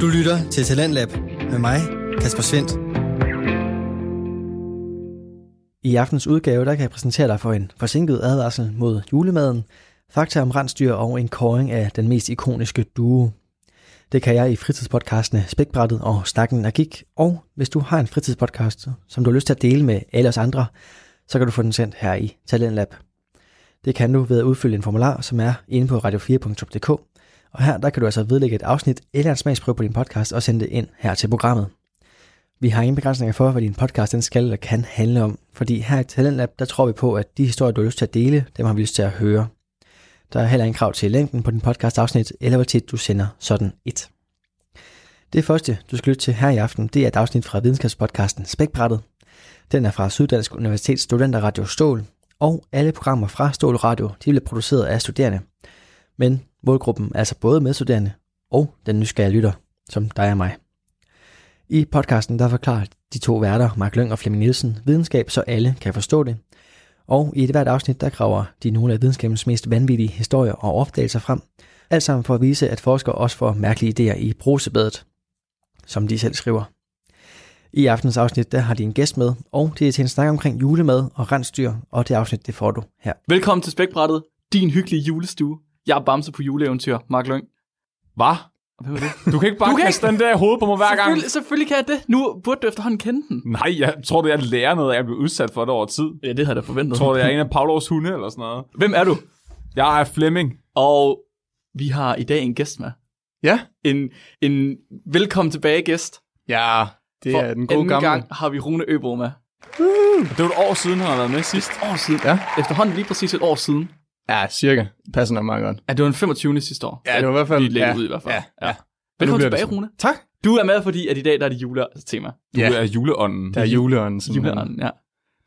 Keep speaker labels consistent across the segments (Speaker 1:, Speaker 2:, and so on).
Speaker 1: Du lytter til Talentlab med mig, Kasper Svendt. I aftens udgave, der kan jeg præsentere dig for en forsinket advarsel mod julemaden, fakta om rensdyr og en kåring af den mest ikoniske duo. Det kan jeg i fritidspodcastene Spækbrættet og Snakken der gik, og hvis du har en fritidspodcast, som du har lyst til at dele med alle os andre, så kan du få den sendt her i Talentlab. Det kan du ved at udfylde en formular, som er inde på radio4.dk, og her der kan du altså vedlægge et afsnit eller en smagsprøve på din podcast og sende det ind her til programmet. Vi har ingen begrænsninger for, hvad din podcast den skal eller kan handle om, fordi her i Talentlab, der tror vi på, at de historier, du har lyst til at dele, dem har vi lyst til at høre. Der er heller ingen krav til længden på din podcast afsnit, eller hvor tit du sender sådan et. Det første, du skal lytte til her i aften, det er et afsnit fra videnskabspodcasten Spækbrættet. Den er fra Syddansk Universitets Studenterradio Stål, og alle programmer fra Stål Radio, de bliver produceret af studerende. Men målgruppen er altså både medstuderende og den nysgerrige lytter, som dig og mig. I podcasten der forklarer de to værter, Mark Lyng og Flemming Nielsen, videnskab, så alle kan forstå det. Og i et hvert afsnit, der graver de nogle af videnskabens mest vanvittige historier og opdagelser frem. Alt sammen for at vise, at forskere også får mærkelige idéer i brusebadet, som de selv skriver. I aftens afsnit, der har de en gæst med, og det er til en snak omkring julemad og rensdyr, og det afsnit, det får du her.
Speaker 2: Velkommen til Spækbrættet, din hyggelige julestue. Jeg er Bamse på juleeventyr, Mark Lyng.
Speaker 3: Hvad?
Speaker 2: Hvad var det?
Speaker 3: Du kan ikke bare
Speaker 2: Du kan
Speaker 3: kaste den der i hovedet på mig hver gang.
Speaker 2: Selvfølgelig, selvfølgelig kan jeg det. Nu burde du efterhånden kende den.
Speaker 3: Nej, jeg tror, det er at lære noget af at blive udsat for det over tid.
Speaker 2: Ja, det havde jeg da forventet.
Speaker 3: Jeg tror, det er en af Pavlovs hunde eller sådan noget.
Speaker 2: Hvem er du?
Speaker 3: Jeg er Flemming.
Speaker 2: Og vi har i dag en gæst med.
Speaker 4: Ja,
Speaker 2: En, en velkommen tilbage gæst.
Speaker 4: ja det
Speaker 2: For
Speaker 4: er den gode
Speaker 2: anden
Speaker 4: gamle.
Speaker 2: gang har vi Rune Øbo med.
Speaker 3: Det var et år siden, han har været med sidst.
Speaker 2: År siden.
Speaker 4: Ja.
Speaker 2: Efterhånden lige præcis et år siden.
Speaker 4: Ja, cirka. Passer nok meget godt.
Speaker 2: Ja, det var den 25. sidste år.
Speaker 4: Ja, det var i hvert fald-
Speaker 2: Lige lidt
Speaker 4: ja,
Speaker 2: ud i hvert fald.
Speaker 4: ja, ja.
Speaker 2: Velkommen
Speaker 4: bliver det
Speaker 2: tilbage,
Speaker 4: sådan.
Speaker 2: Rune.
Speaker 4: Tak.
Speaker 2: Du er med, fordi at i dag der er det juletema.
Speaker 3: Du
Speaker 4: Ja.
Speaker 3: er juleånden.
Speaker 4: Der er juleånden. simpelthen.
Speaker 2: Juleånden, ja.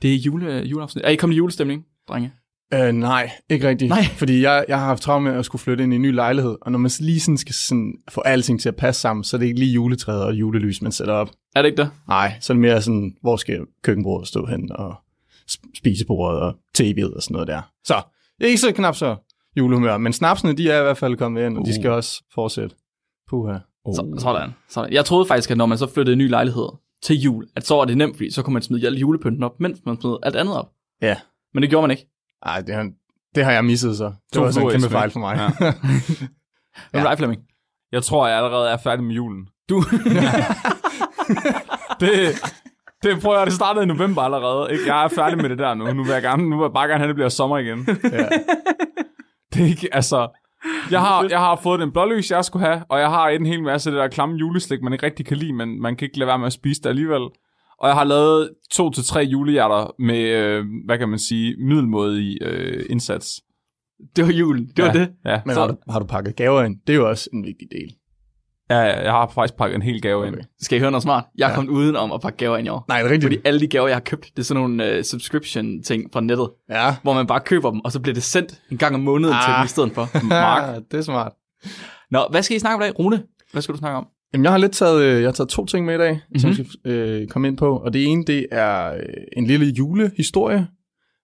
Speaker 2: Det er jule, juleafsnit. Er I kommet i julestemning, drenge?
Speaker 4: Øh, nej, ikke rigtigt.
Speaker 2: Nej.
Speaker 4: Fordi jeg, jeg har haft travlt med at skulle flytte ind i en ny lejlighed, og når man lige sådan skal sådan få alting til at passe sammen, så er det ikke lige juletræet og julelys, man sætter op.
Speaker 2: Er det ikke det?
Speaker 4: Nej, så er det mere sådan, hvor skal køkkenbordet stå hen, og sp- spisebordet og tv'et og sådan noget der. Så, det er ikke så knap så julehumør, men snapsene, de er i hvert fald kommet ind, og
Speaker 2: Uh.
Speaker 4: de skal også fortsætte. Puha.
Speaker 3: Oh.
Speaker 2: Så, sådan, sådan. Jeg troede faktisk, at når man så flyttede en ny lejlighed til jul, at så var det nemt, fordi så kunne man smide alle julepynten op, mens man smed alt andet op.
Speaker 4: Ja.
Speaker 2: Men det gjorde man ikke.
Speaker 4: Ej, det har, det har jeg misset så. Det
Speaker 3: To
Speaker 4: var også en
Speaker 3: fluer i
Speaker 4: kæmpe
Speaker 3: smæk.
Speaker 4: fejl for mig.
Speaker 3: Ja.
Speaker 2: Hvem ja. er Flemming?
Speaker 3: Jeg tror, jeg allerede er færdig med julen.
Speaker 2: Du,
Speaker 3: Det, det prøver jeg, det startede i november allerede. Ikke? Jeg er færdig med det der nu. Nu vil jeg, gerne, nu vil jeg bare gerne have, det bliver sommer igen.
Speaker 4: Ja.
Speaker 3: Det er ikke, altså... Jeg har, jeg har fået den blålys, jeg skulle have, og jeg har en hel masse af det der klamme juleslik, man ikke rigtig kan lide, men man kan ikke lade være med at spise det alligevel. Og jeg har lavet to til tre julehjerter med, øh, hvad kan man sige, middelmådig øh, indsats.
Speaker 2: det var julen. Det var
Speaker 3: ja,
Speaker 2: det.
Speaker 3: Ja.
Speaker 4: Men
Speaker 2: Så-
Speaker 4: har du, har du pakket gaver ind? Det er jo også en vigtig del.
Speaker 3: ja, ja, jeg har faktisk pakket en hel gave okay. ind.
Speaker 4: Okay.
Speaker 2: Skal I høre noget smart? Jeg er
Speaker 4: Ja.
Speaker 2: kommet uden om at pakke gaver ind i år.
Speaker 4: Nej, det er rigtigt.
Speaker 2: Fordi alle de gaver, jeg har købt, det er sådan nogle uh, subscription-ting fra nettet,
Speaker 4: Ja.
Speaker 2: hvor man bare køber dem, og så bliver det sendt en gang om måneden ah. til
Speaker 4: Ah.
Speaker 2: dem i stedet for.
Speaker 4: Mark. det er smart.
Speaker 2: Nå, hvad skal I snakke om i dag? Rune, hvad skal du snakke om?
Speaker 4: Jamen, jeg har lidt taget, øh, jeg har taget to ting med i dag, mm-hmm. som
Speaker 2: Mhm.
Speaker 4: jeg skal øh, komme ind på. Og det ene, det er øh, en lille julehistorie.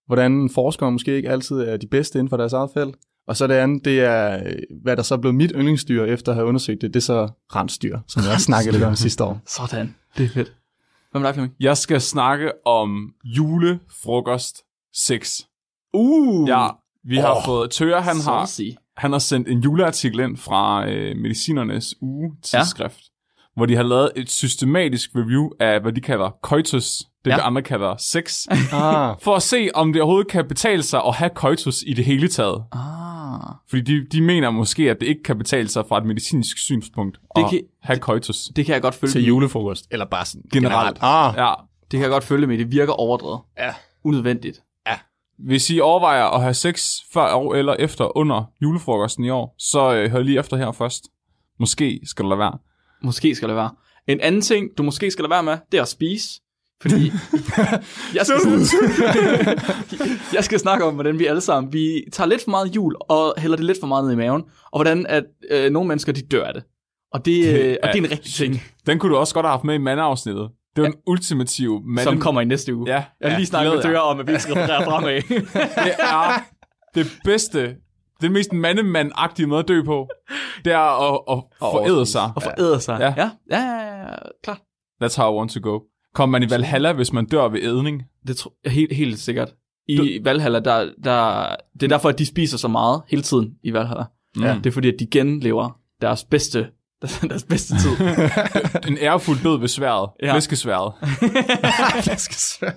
Speaker 4: Hvordan forskere måske ikke altid er de bedste inden for deres eget felt. Og så det andet, det er, øh, hvad der så er blevet mit yndlingsdyr, efter at have undersøgt det, det er så rensdyr, som jeg snakkede lidt om sidste år.
Speaker 2: Sådan, det er fedt. Hvem er dig, Flemming?
Speaker 3: Jeg skal snakke om julefrokost 6.
Speaker 2: Uh,
Speaker 3: Ja, vi har
Speaker 4: Åh.
Speaker 3: fået Tøger, han har
Speaker 2: Saucy.
Speaker 3: han har sendt en juleartikel ind fra øh, Medicinernes Ugetidsskrift, ja. hvor de har lavet et systematisk review af, hvad de kalder coitus, det ja.
Speaker 2: Ja.
Speaker 3: vi andre kalder sex,
Speaker 4: Ah,
Speaker 3: for at se, om det overhovedet kan betale sig at have coitus i det hele taget.
Speaker 2: Ah.
Speaker 3: Fordi de, de mener måske, at det ikke kan betale sig fra et medicinsk synspunkt
Speaker 2: Det
Speaker 3: at
Speaker 2: kan-
Speaker 3: have coitus.
Speaker 2: Det kan jeg godt følge.
Speaker 4: til
Speaker 2: dem i.
Speaker 4: julefrokost, eller bare sådan
Speaker 3: Generelt.
Speaker 4: generelt. Ah,
Speaker 3: Ja.
Speaker 2: Det kan jeg godt følge med. Det virker overdrevet.
Speaker 4: ja.
Speaker 2: Unødvendigt.
Speaker 3: Hvis I overvejer at have sex før og eller efter under julefrokosten i år, så øh, hør lige efter her først. Måske skal det lade være.
Speaker 2: Måske skal det være. En anden ting, du måske skal lade være med, det er at spise. Fordi jeg, skal, jeg skal snakke om, hvordan vi alle sammen, vi tager lidt for meget jul, og hælder det lidt for meget ned i maven, og hvordan at øh, nogle mennesker, de dør af det. Og det, øh, og det er en rigtig ting,
Speaker 3: Den kunne du også godt have haft med i mandeafsnittet. Det var ja. den ultimative mand.
Speaker 2: som kommer i næste uge.
Speaker 3: Ja,
Speaker 2: Jeg har lige snakket med
Speaker 3: glæder
Speaker 2: Døre om, at vi skal referere fremad.
Speaker 3: Det er det bedste Det er den mest mandemand-agtige måde at dø på. Det er at, at foræde sig.
Speaker 2: Og foræder sig.
Speaker 3: Ja.
Speaker 2: Ja. ja, ja, ja, klart.
Speaker 3: That's how I want to go. Kommer man i Valhalla, hvis man dør ved ædning?
Speaker 2: Det tror jeg helt, helt sikkert. I Valhalla, der, der, det er derfor, at de spiser så meget hele tiden i Valhalla.
Speaker 3: Ja.
Speaker 2: Det er fordi, at de genlever deres bedste, deres bedste tid.
Speaker 3: En ærefuld død ved sværet.
Speaker 2: Ja.
Speaker 3: Ja. Fiskesværet.
Speaker 4: Flæskesvær.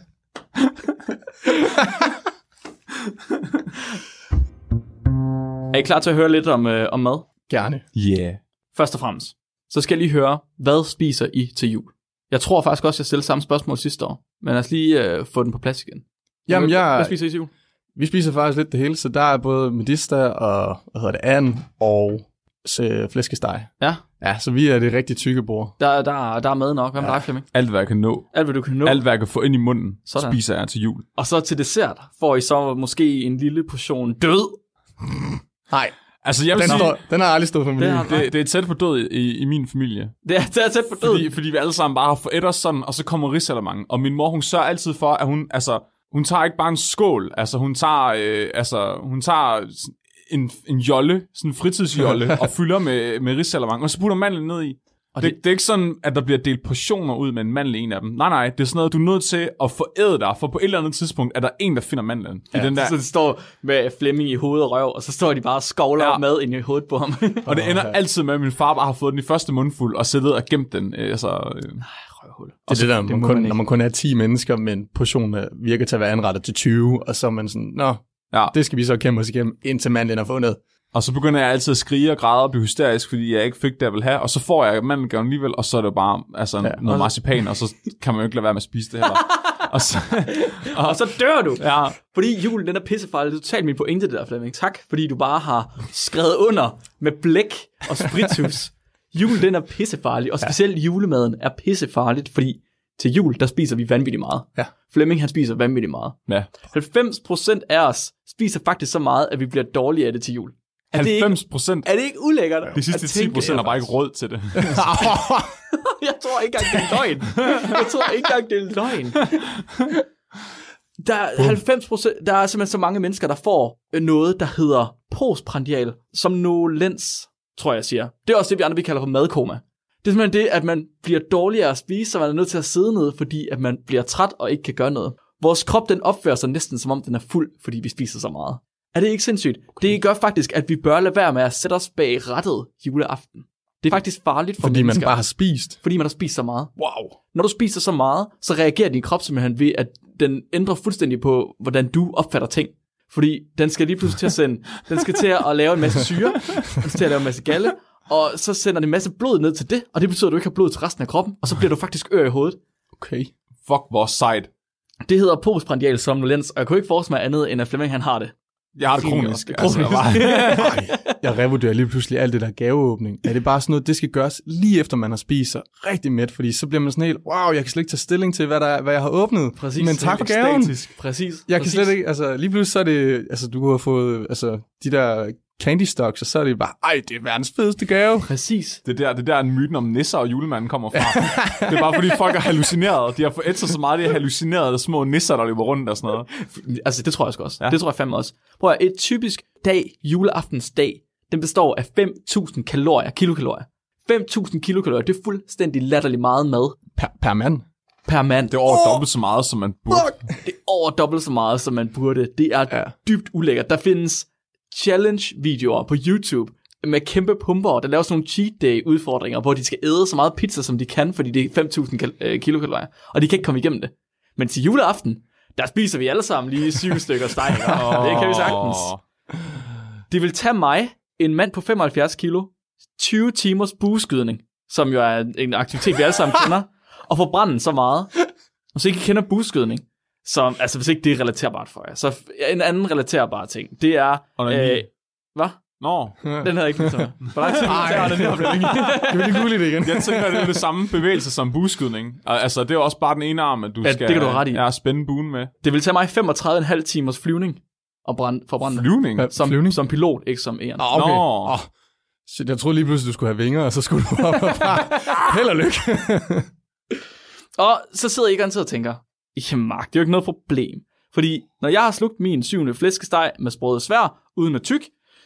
Speaker 2: er I klar til at høre lidt om, øh, om mad?
Speaker 4: Gerne.
Speaker 3: Yeah.
Speaker 2: Først og fremmest, så skal jeg lige høre, hvad spiser I til jul? Jeg tror faktisk også, jeg stillede samme spørgsmål sidste år, men lad os lige øh, få den på plads igen.
Speaker 4: Jamen,
Speaker 2: Hvad- Hvad
Speaker 4: jeg,
Speaker 2: spiser I til jul?
Speaker 4: vi spiser faktisk lidt det hele, så der er både medister og, hvad hedder det, and og øh, flæskesteg.
Speaker 2: Ja.
Speaker 4: Ja, så vi er det rigtig tykke bord.
Speaker 2: Der, der, der er mad nok. Hvad med dig, Flemming?
Speaker 3: Alt, hvad jeg kan nå.
Speaker 2: Alt, hvad du kan nå.
Speaker 3: Alt, hvad jeg kan få ind i munden,
Speaker 2: Sådan.
Speaker 3: Sådan. spiser jeg til jul.
Speaker 2: Og så til dessert får I så måske en lille portion død.
Speaker 4: Nej,
Speaker 3: Altså, jeg vil
Speaker 4: den,
Speaker 3: sige,
Speaker 4: står, den har aldrig stået på menuen.
Speaker 2: har den.
Speaker 3: det, det er tæt på død i, i min familie.
Speaker 2: Det er, det er tæt på død.
Speaker 3: Fordi, fordi vi alle sammen bare har forædt os sådan, og så kommer rigsalamangen. Og min mor, hun sørger altid for, at hun, altså, hun tager ikke bare en skål, altså hun tager, øh, altså, hun tager sådan en, en jolle, sådan en fritidsjolle, og fylder med, med risalamang, og så putter mandlen ned i. Og det, det, er ikke sådan, at der bliver delt portioner ud med en mandel i en af dem. Nej, nej, det er sådan noget, du er nødt til at foræde dig, for på et eller andet tidspunkt er der en, der finder mandlen ja, i den der.
Speaker 2: Så de står med Flemming i hovedet og røv, og så står de bare og skovler ja.
Speaker 3: Ja.
Speaker 2: mad ind i hovedet på ham.
Speaker 3: Og det ender altid med, at min far bare har fået den i første mundfuld, og siddet og gemt den. øh, Altså, øh,
Speaker 2: Røvhul.
Speaker 4: Det er det der,
Speaker 2: det
Speaker 4: det man
Speaker 2: må
Speaker 4: kun,
Speaker 2: man
Speaker 4: man
Speaker 2: ikke.
Speaker 4: når man kun er 10 mennesker, men portionen er- virker til at være anrettet til 20, og så er man sådan, nå,
Speaker 3: Ja.
Speaker 4: det skal vi så kæmpe os igennem, indtil manden er fundet.
Speaker 3: Og så begynder jeg altid at skrige og græde og blive hysterisk, fordi jeg ikke fik det, jeg ville have. Og så får jeg mandelgaven alligevel, og så er det bare altså, ja. noget marcipan, og så kan man jo ikke lade være med at spise det heller. og så,
Speaker 2: Og så dør du.
Speaker 3: ja,
Speaker 2: Fordi julen, den er pissefejl. Det er totalt min pointe, det der, Flemming. Tak, fordi du bare har skrevet under med blæk og spritus. jul, den er pissefarlig, og specielt ja. julemaden er pissefarligt, fordi til jul, der spiser vi vanvittigt meget.
Speaker 4: Ja.
Speaker 2: Flemming, han spiser vanvittigt meget.
Speaker 3: ja.
Speaker 2: 90% af os spiser faktisk så meget, at vi bliver dårlige af det til jul. Er det ikke-
Speaker 3: 90 procent.
Speaker 2: Er det ikke ulækkert?
Speaker 3: De sidste
Speaker 2: at
Speaker 3: 10
Speaker 2: tænke
Speaker 3: procent har bare ikke råd til det.
Speaker 2: Jeg tror ikke engang, det er løgn. Jeg tror ikke engang, det er løgn. Der er 90 der er simpelthen så mange mennesker, der får øh, noget, der hedder postprandial somnolens, tror jeg siger. Det er også det, vi andre vi kalder for madkoma. Det er simpelthen det, at man bliver dårligere at spise, så man er nødt til at sidde ned, fordi at man bliver træt og ikke kan gøre noget. Vores krop den opfører sig næsten som om den er fuld, fordi vi spiser så meget. Er det ikke sindssygt? Det gør faktisk, at vi bør lade være med at sætte os bag rettet juleaften. Det er faktisk farligt for
Speaker 4: Fordi man
Speaker 2: mennesker
Speaker 4: bare har spist.
Speaker 2: fordi man har spist så meget.
Speaker 4: Wow.
Speaker 2: Når du spiser så meget, så reagerer din krop simpelthen ved, at den ændrer fuldstændig på, hvordan du opfatter ting. Fordi den skal lige pludselig til at sende, den skal til at lave en masse syre, den skal til at lave en masse galle, og så sender den en masse blod ned til det, og det betyder, at du ikke har blod til resten af kroppen, og så bliver du faktisk ør i hovedet.
Speaker 4: Okay.
Speaker 3: Fuck, hvor sejt.
Speaker 2: Det hedder postprandial somnolens, og jeg kunne ikke forestille mig andet, end at Flemming han har det.
Speaker 3: Jeg har det
Speaker 2: Fint nok.
Speaker 3: kronisk.
Speaker 2: Det er
Speaker 3: Altså, jeg bare,
Speaker 4: Jeg revurderer lige pludselig alt det der gaveåbning. Er det bare sådan noget, det skal gøres lige efter man har spist sig rigtig mæt, fordi så bliver man sådan helt, wow, jeg kan slet ikke tage stilling til, hvad, der er, hvad jeg har åbnet.
Speaker 2: Præcis.
Speaker 4: Men tak for gaven.
Speaker 3: Ekstatisk.
Speaker 2: Præcis.
Speaker 4: Jeg kan
Speaker 2: præcis.
Speaker 4: slet ikke, altså lige pludselig så er det, altså du har fået, altså de der candy stocks, og så er det bare, ej, det er verdens fedeste gave.
Speaker 2: Præcis.
Speaker 3: Det er der, det er der myten om nisser og julemanden kommer fra. det er bare fordi folk har hallucineret. De har forædt sig så meget, de har hallucineret af små nisser, der løber rundt og sådan noget.
Speaker 2: Altså, det tror jeg sgu også. Ja. Det tror jeg fandme også. Prøv at høre, et typisk dag, juleaftens dag, den består af 5.000 kalorier, kilokalorier. 5.000 kilokalorier, det er fuldstændig latterlig meget mad
Speaker 4: Per, per mand.
Speaker 2: per mand.
Speaker 3: Det er over dobbelt så meget, som man burde.
Speaker 2: Det er over dobbelt så meget, som man burde. Det er ja.
Speaker 4: Ja.
Speaker 2: dybt ulækkert. Der findes challenge-videoer på YouTube med kæmpe pumper, der laver sådan nogle cheat day udfordringer, hvor de skal æde så meget pizza, som de kan, fordi det er 5.000 kal- øh, kilokalorier, og de kan ikke komme igennem det. Men til juleaften, der spiser vi alle sammen lige syv stykker steg, og det kan vi sagtens.
Speaker 3: Åh.
Speaker 2: Det vil tage mig, en mand på 75 kilo, 20 timers bueskydning, som jo er en aktivitet, vi alle sammen kender, og forbrænde så meget. Hvis ikke I kender bueskydning, så, altså hvis ikke det er relaterbart for jer, så f- en anden relaterbar ting, det er... øh,
Speaker 3: Onani.
Speaker 2: hvad?
Speaker 3: Nå.
Speaker 2: Den havde jeg ikke lyst til. Hvor lang tid tager den her Flemming?
Speaker 4: Kan vi lige google det igen?
Speaker 3: Jeg tænker, det er det samme bevægelse som bueskydning. Og, Altså, det er også bare den ene arm, at du
Speaker 2: Ja,
Speaker 3: skal
Speaker 2: det kan du have ret i.
Speaker 3: Ja, spænde buen med.
Speaker 2: Det vil tage mig 35,5 timers flyvning og brænde, forbrænde.
Speaker 3: Flyvning?
Speaker 4: Ja.
Speaker 2: Som,
Speaker 4: Flyvning?
Speaker 2: som pilot, ikke som en.
Speaker 4: Nå, okay.
Speaker 3: Nå.
Speaker 2: Ah.
Speaker 4: Åh, shit, jeg troede lige pludselig, du skulle have vinger, og så skulle du op og bare, held og lykke.
Speaker 2: Og så sidder I garanteret og tænker, jamen Mark, det er jo ikke noget problem. Fordi når jeg har slugt min syvende flæskesteg med sprøde svær, uden at tyk,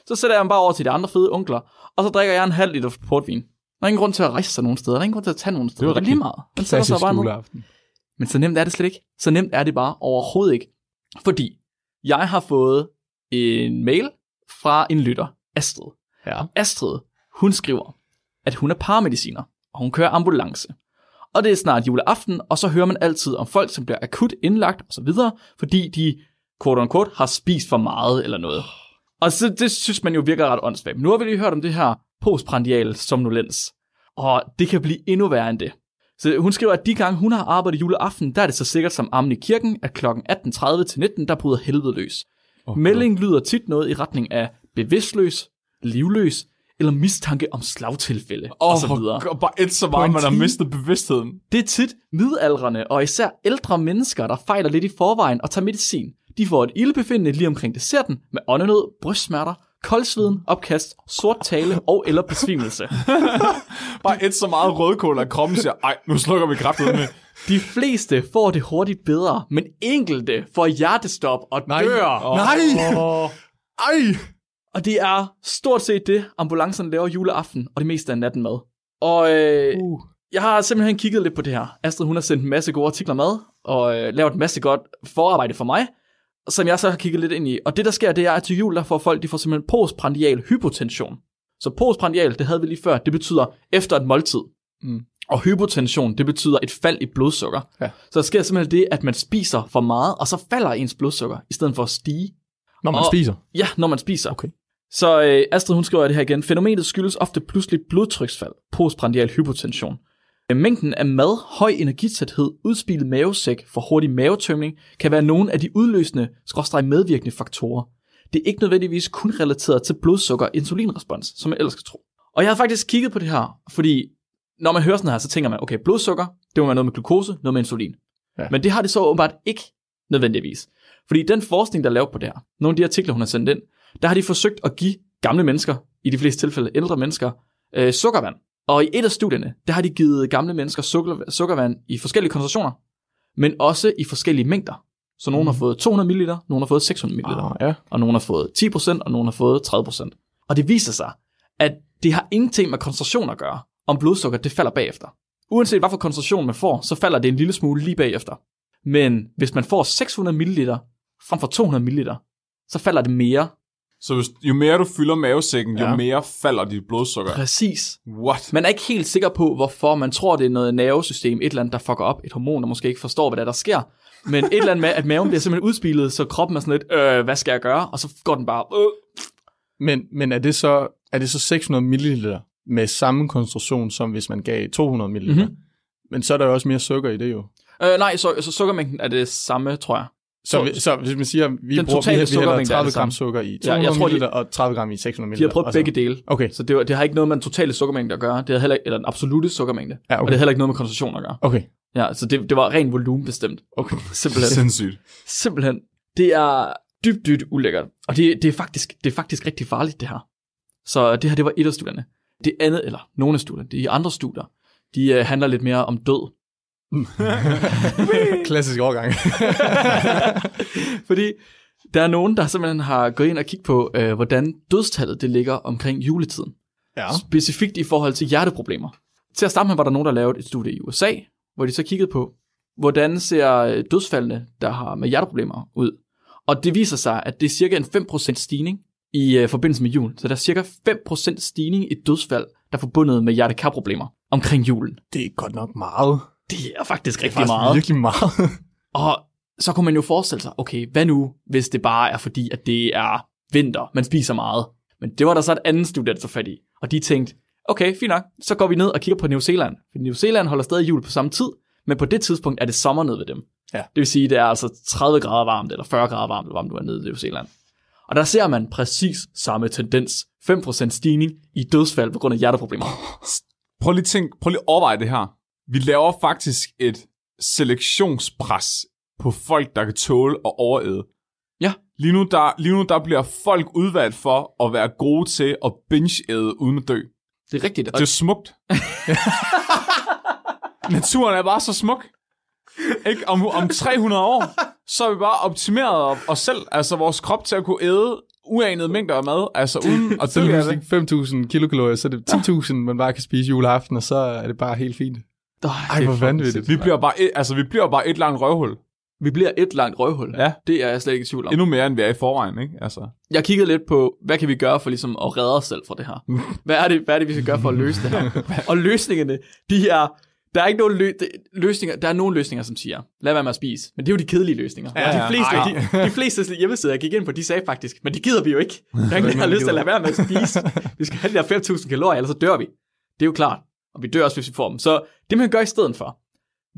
Speaker 2: Så sætter jeg dem bare over til de andre fede onkler, og så drikker jeg en halv liter portvin. Der er ingen grund til at rejse sig nogen steder. Der er ingen grund til at tage nogen steder. Det er lige meget. Man sætter sig bare ned.
Speaker 4: juleaften.
Speaker 2: Men så nemt er det slet ikke. Så nemt er det bare overhovedet ikke. Fordi jeg har fået en mail fra en lytter, Astrid.
Speaker 4: Ja.
Speaker 2: Astrid, hun skriver, at hun er paramediciner, og hun kører ambulance. Og det er snart juleaften, og så hører man altid om folk, som bliver akut indlagt osv., fordi de, quote unquote, har spist for meget eller noget. Og så, det synes man jo virker ret åndssvagt. Men Nu har vi lige hørt om det her postprandial somnolens. Og det kan blive endnu værre end det. Så hun skriver, at de gange hun har arbejdet juleaften, der er det så sikkert som armen i kirken, at kl. 18.30 til 19, der bryder helvede løs.
Speaker 3: Oh,
Speaker 2: Meldingen lyder tit noget i retning af bevidstløs, livløs eller mistanke om slagtilfælde
Speaker 3: Åh,
Speaker 2: og så videre.
Speaker 3: oh, bare et så meget,
Speaker 4: en
Speaker 3: man har
Speaker 4: time.
Speaker 3: mistet bevidstheden.
Speaker 2: Det er tit midaldrende og især ældre mennesker, der fejler lidt i forvejen og tager medicin. De får et ildbefindende lige omkring desserten med åndenød, brystsmerter, koldsveden, opkast, sort tale og eller besvimelse.
Speaker 3: Bare et så meget rødkål, at kroppen siger, ej, nu slukker vi kraftet med.
Speaker 2: De fleste får det hurtigt bedre, men enkelte får hjertestop og
Speaker 4: Nej.
Speaker 2: dør.
Speaker 3: Åh,
Speaker 4: Nej!
Speaker 3: åh.
Speaker 4: Ej!
Speaker 2: Og det er stort set det, ambulancerne laver juleaften og det meste af natten med. Og øh,
Speaker 4: Uh.
Speaker 2: jeg har simpelthen kigget lidt på det her. Astrid, hun har sendt en masse gode artikler med, og øh, lavet en masse godt forarbejde for mig, som jeg så har kigget lidt ind i. Og det, der sker, det er, at til jul, der får folk, de får simpelthen postprandial hypotension. Så postprandial, det havde vi lige før, det betyder efter et måltid.
Speaker 4: Mm.
Speaker 2: Og hypotension, det betyder et fald i blodsukker.
Speaker 4: Ja.
Speaker 2: Så der sker simpelthen det, at man spiser for meget, og så falder ens blodsukker, i stedet for at stige.
Speaker 4: Når man
Speaker 2: Og-
Speaker 4: spiser.
Speaker 2: Ja, når man spiser.
Speaker 4: Okay.
Speaker 2: Så øh, Astrid, hun skriver det her igen. Fænomenet skyldes ofte pludselig blodtryksfald, postprandial hypotension. Øh, Mængden af mad, høj energitæthed, udspilet mavesæk for hurtig mavetømning kan være nogle af de udløsende, skråstreg medvirkende faktorer. Det er ikke nødvendigvis kun relateret til blodsukker og insulinrespons, som jeg ellers kan tro. Og jeg har faktisk kigget på det her, fordi når man hører sådan her, så tænker man, okay, blodsukker, det må være noget med glukose, noget med insulin.
Speaker 4: Ja.
Speaker 2: Men det har det så åbenbart ikke nødvendigvis. Fordi den forskning, der er lavet på det her, nogle af de artikler, hun har sendt ind, der har de forsøgt at give gamle mennesker, i de fleste tilfælde ældre mennesker, øh, sukkervand. Og i et af studierne, der har de givet gamle mennesker sukker, sukkervand i forskellige koncentrationer, men også i forskellige mængder. Så nogen har fået 200 ml, nogen har fået 600 ml
Speaker 4: Ah, ja.
Speaker 2: og nogen har fået 10%, og nogen har fået 30%. Og det viser sig, at det har ingenting med koncentration at gøre, om blodsukker det falder bagefter. Uanset hvad for koncentration man får, så falder det en lille smule lige bagefter. Men hvis man får 600 ml frem for 200 ml, så falder det mere
Speaker 3: Så hvis, jo mere du fylder mavesækken, jo
Speaker 4: Ja.
Speaker 3: mere falder dit blodsukker.
Speaker 2: præcis.
Speaker 3: What?
Speaker 2: Man er ikke helt sikker på, hvorfor man tror, det er noget nervesystem, et eller andet, der fucker op, et hormon, der måske ikke forstår, hvad der, er, der sker. Men et eller andet med, at maven bliver simpelthen udspilet, så kroppen er sådan lidt, øh, hvad skal jeg gøre? Og så går den bare, øh,
Speaker 4: Men, men er, det så, er det så 600 ml med samme koncentration, som hvis man gav 200 ml?
Speaker 2: Mhm.
Speaker 4: Mm-hmm. Men så er der jo også mere sukker i det jo.
Speaker 2: øh nej, så, så sukkermængden er det samme, tror jeg.
Speaker 4: Så, vi, så hvis man siger, vi
Speaker 2: Den
Speaker 4: bruger vi,
Speaker 2: totale
Speaker 4: hælder- vi hælder
Speaker 2: sukkermængde er
Speaker 4: 30
Speaker 2: det
Speaker 4: gram
Speaker 2: samme.
Speaker 4: sukker i
Speaker 2: Ja,
Speaker 4: 200
Speaker 2: jeg
Speaker 4: ja,
Speaker 2: tror,
Speaker 4: ml og 30 gram i 600 ml.
Speaker 2: De har prøvet
Speaker 4: og så-
Speaker 2: begge dele.
Speaker 4: Okay,
Speaker 2: Så det, var- det har ikke noget med den totale sukkermængde at gøre. Det havde heller, eller den absolute sukkermængde.
Speaker 4: Ja, okay.
Speaker 2: Og det havde heller ikke noget med koncentration at gøre.
Speaker 4: okay.
Speaker 2: Ja, så det, det var ren volumen bestemt.
Speaker 4: okay.
Speaker 2: Simpelthen.
Speaker 3: Sindssygt.
Speaker 2: Simpelthen. Det er dybt, dybt ulækkert. Og det, det, er faktisk, det er faktisk rigtig farligt, det her. Så det her, det var et af studierne. Det andet, eller nogle af studierne, de andre studier, de øh, handler lidt mere om død.
Speaker 4: Klassisk overgang.
Speaker 2: Fordi der er nogen, der simpelthen har gået ind og kigget på, øh, hvordan dødstallet det ligger omkring juletiden.
Speaker 4: ja.
Speaker 2: specifikt i forhold til hjerteproblemer. Til at starte med var der nogen, der lavede et studie i USA, hvor de så kiggede på, hvordan ser øh, dødsfaldene, der har med hjerteproblemer ud. Og det viser sig, at det er cirka en 5% stigning i øh, forbindelse med jul. Så der er cirka 5% stigning i dødsfald, der er forbundet med hjertekarproblemer omkring julen.
Speaker 4: Det er godt nok meget.
Speaker 2: Det er faktisk rigtig
Speaker 4: Faktisk
Speaker 2: meget.
Speaker 4: Virkelig meget.
Speaker 2: Og så kunne man jo forestille sig, okay, hvad nu, hvis det bare er fordi, at det er vinter, man spiser meget. Men det var der så et andet studie, der tog fat i, og de tænkte, okay, fint nok, så går vi ned og kigger på New Zealand. For New Zealand holder stadig jul på samme tid, men på det tidspunkt er det sommer nede ved dem.
Speaker 4: Ja.
Speaker 2: Det vil sige, det er altså 30 grader varmt, eller 40 grader varmt, eller varmt du er nede i New Zealand. Og der ser man præcis samme tendens. 5% stigning i dødsfald på grund af hjerteproblemer.
Speaker 3: Prøv lige tænk, prøv lige at overveje det her. Vi laver faktisk et selektionspres på folk, der kan tåle at overæde.
Speaker 2: Ja.
Speaker 3: Lige nu, der, lige nu, der bliver folk udvalgt for at være gode til at binge-æde uden at dø.
Speaker 2: Det er rigtigt. Og
Speaker 3: Det er smukt. Naturen er bare så smuk. Ikke? Om, om 300 år, så er vi bare optimeret op- os selv, altså vores krop til at kunne æde uanede mængder af mad, altså uden at
Speaker 4: Så er det
Speaker 3: dø af
Speaker 4: pludselig
Speaker 3: det.
Speaker 4: 5.000 kilokalorier, så er det 10.000, man bare kan spise juleaften, og så er det bare helt fint. Ej, hvor vanvittigt.
Speaker 3: Vi bliver bare et, altså, vi bliver bare et langt røvhul.
Speaker 2: Vi bliver et langt røvhul.
Speaker 3: Ja.
Speaker 2: Det er jeg slet ikke i tvivl om.
Speaker 3: Endnu mere, end vi er i forvejen, ikke? Altså,
Speaker 2: Jeg kiggede lidt på, hvad kan vi gøre for ligesom at redde os selv fra det her? Hvad er det, hvad er det vi skal gøre for at løse det her? Og løsningerne, de er... Der er ikke nogen lø- de- løsninger. Der er nogle løsninger, som siger, lad være med at spise. Men det er jo de kedelige løsninger.
Speaker 3: Ja,
Speaker 2: Ja,
Speaker 3: ja.
Speaker 2: de, fleste,
Speaker 3: Ej.
Speaker 2: de, de, fleste hjemmesider, jeg gik ind på, de sagde faktisk, men det gider vi jo ikke. Der er ingen, der har lyst til at lade være med at spise. Vi skal have de der 5.000 kalorier, ellers så dør vi. Det er jo klart. Og vi dør også, hvis vi får dem. Så det, man gør i stedet for,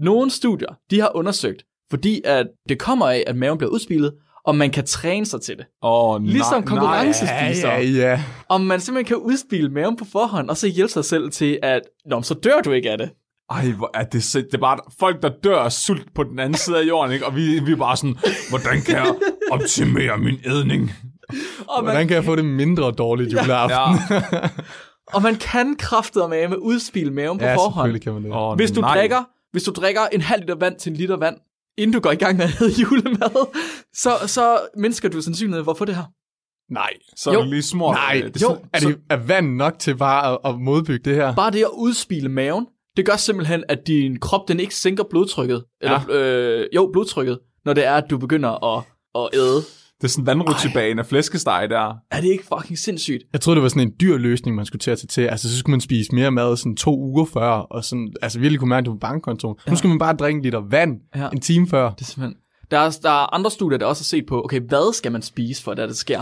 Speaker 2: nogle studier, de har undersøgt, fordi at det kommer af, at maven bliver udspilet, og man kan træne sig til det.
Speaker 3: åh, nej,
Speaker 2: Ligesom
Speaker 3: nej.
Speaker 2: konkurrencespisere.
Speaker 4: Ja, ja.
Speaker 2: Om man simpelthen kan udspille maven på forhånd, og så hjælpe sig selv til, at Nå, men så dør du ikke af det.
Speaker 3: Ej, hvor er det sind... Det er bare folk, der dør af sult på den anden side af jorden, ikke? Og vi, vi er bare sådan, hvordan kan jeg optimere min ædning?
Speaker 2: Og man,
Speaker 4: Hvordan kan jeg få det mindre dårligt juleaften?
Speaker 3: Ja.
Speaker 2: og man kan kræfte med med udspille maven på
Speaker 4: ja
Speaker 2: forhånd.
Speaker 4: selvfølgelig kan man det.
Speaker 3: Åh,
Speaker 2: Hvis du,
Speaker 3: nej.
Speaker 2: drikker, hvis du drikker en halv liter vand til en liter vand, inden du går i gang med at æde julemad, så, så mindsker du sandsynligheden for at få det her.
Speaker 3: Nej, så er
Speaker 2: Jo.
Speaker 3: det lige smurt. øh,
Speaker 4: Nej,
Speaker 3: det,
Speaker 2: jo.
Speaker 4: Er, det, er vand nok til bare at, at modbygge det her?
Speaker 2: Bare det at udspille maven, det gør simpelthen, at din krop den ikke sænker blodtrykket. Eller, ja. øh, jo, blodtrykket, når det er, at du begynder at, at æde.
Speaker 3: det er sådan vandrutsjebane af flæskesteg der.
Speaker 2: Er det ikke fucking sindssygt?
Speaker 4: Jeg troede, det var sådan en dyr løsning, man skulle til at tage til. Altså, så skulle man spise mere mad sådan to uger før, og sådan, altså virkelig kunne mærke det på bankkontoen. Ja. Nu skal man bare drikke en liter vand
Speaker 2: Ja.
Speaker 4: ja. en time før.
Speaker 2: Det er simpelthen... Der er, der er andre studier, der også har set på, okay, hvad skal man spise, for at det sker?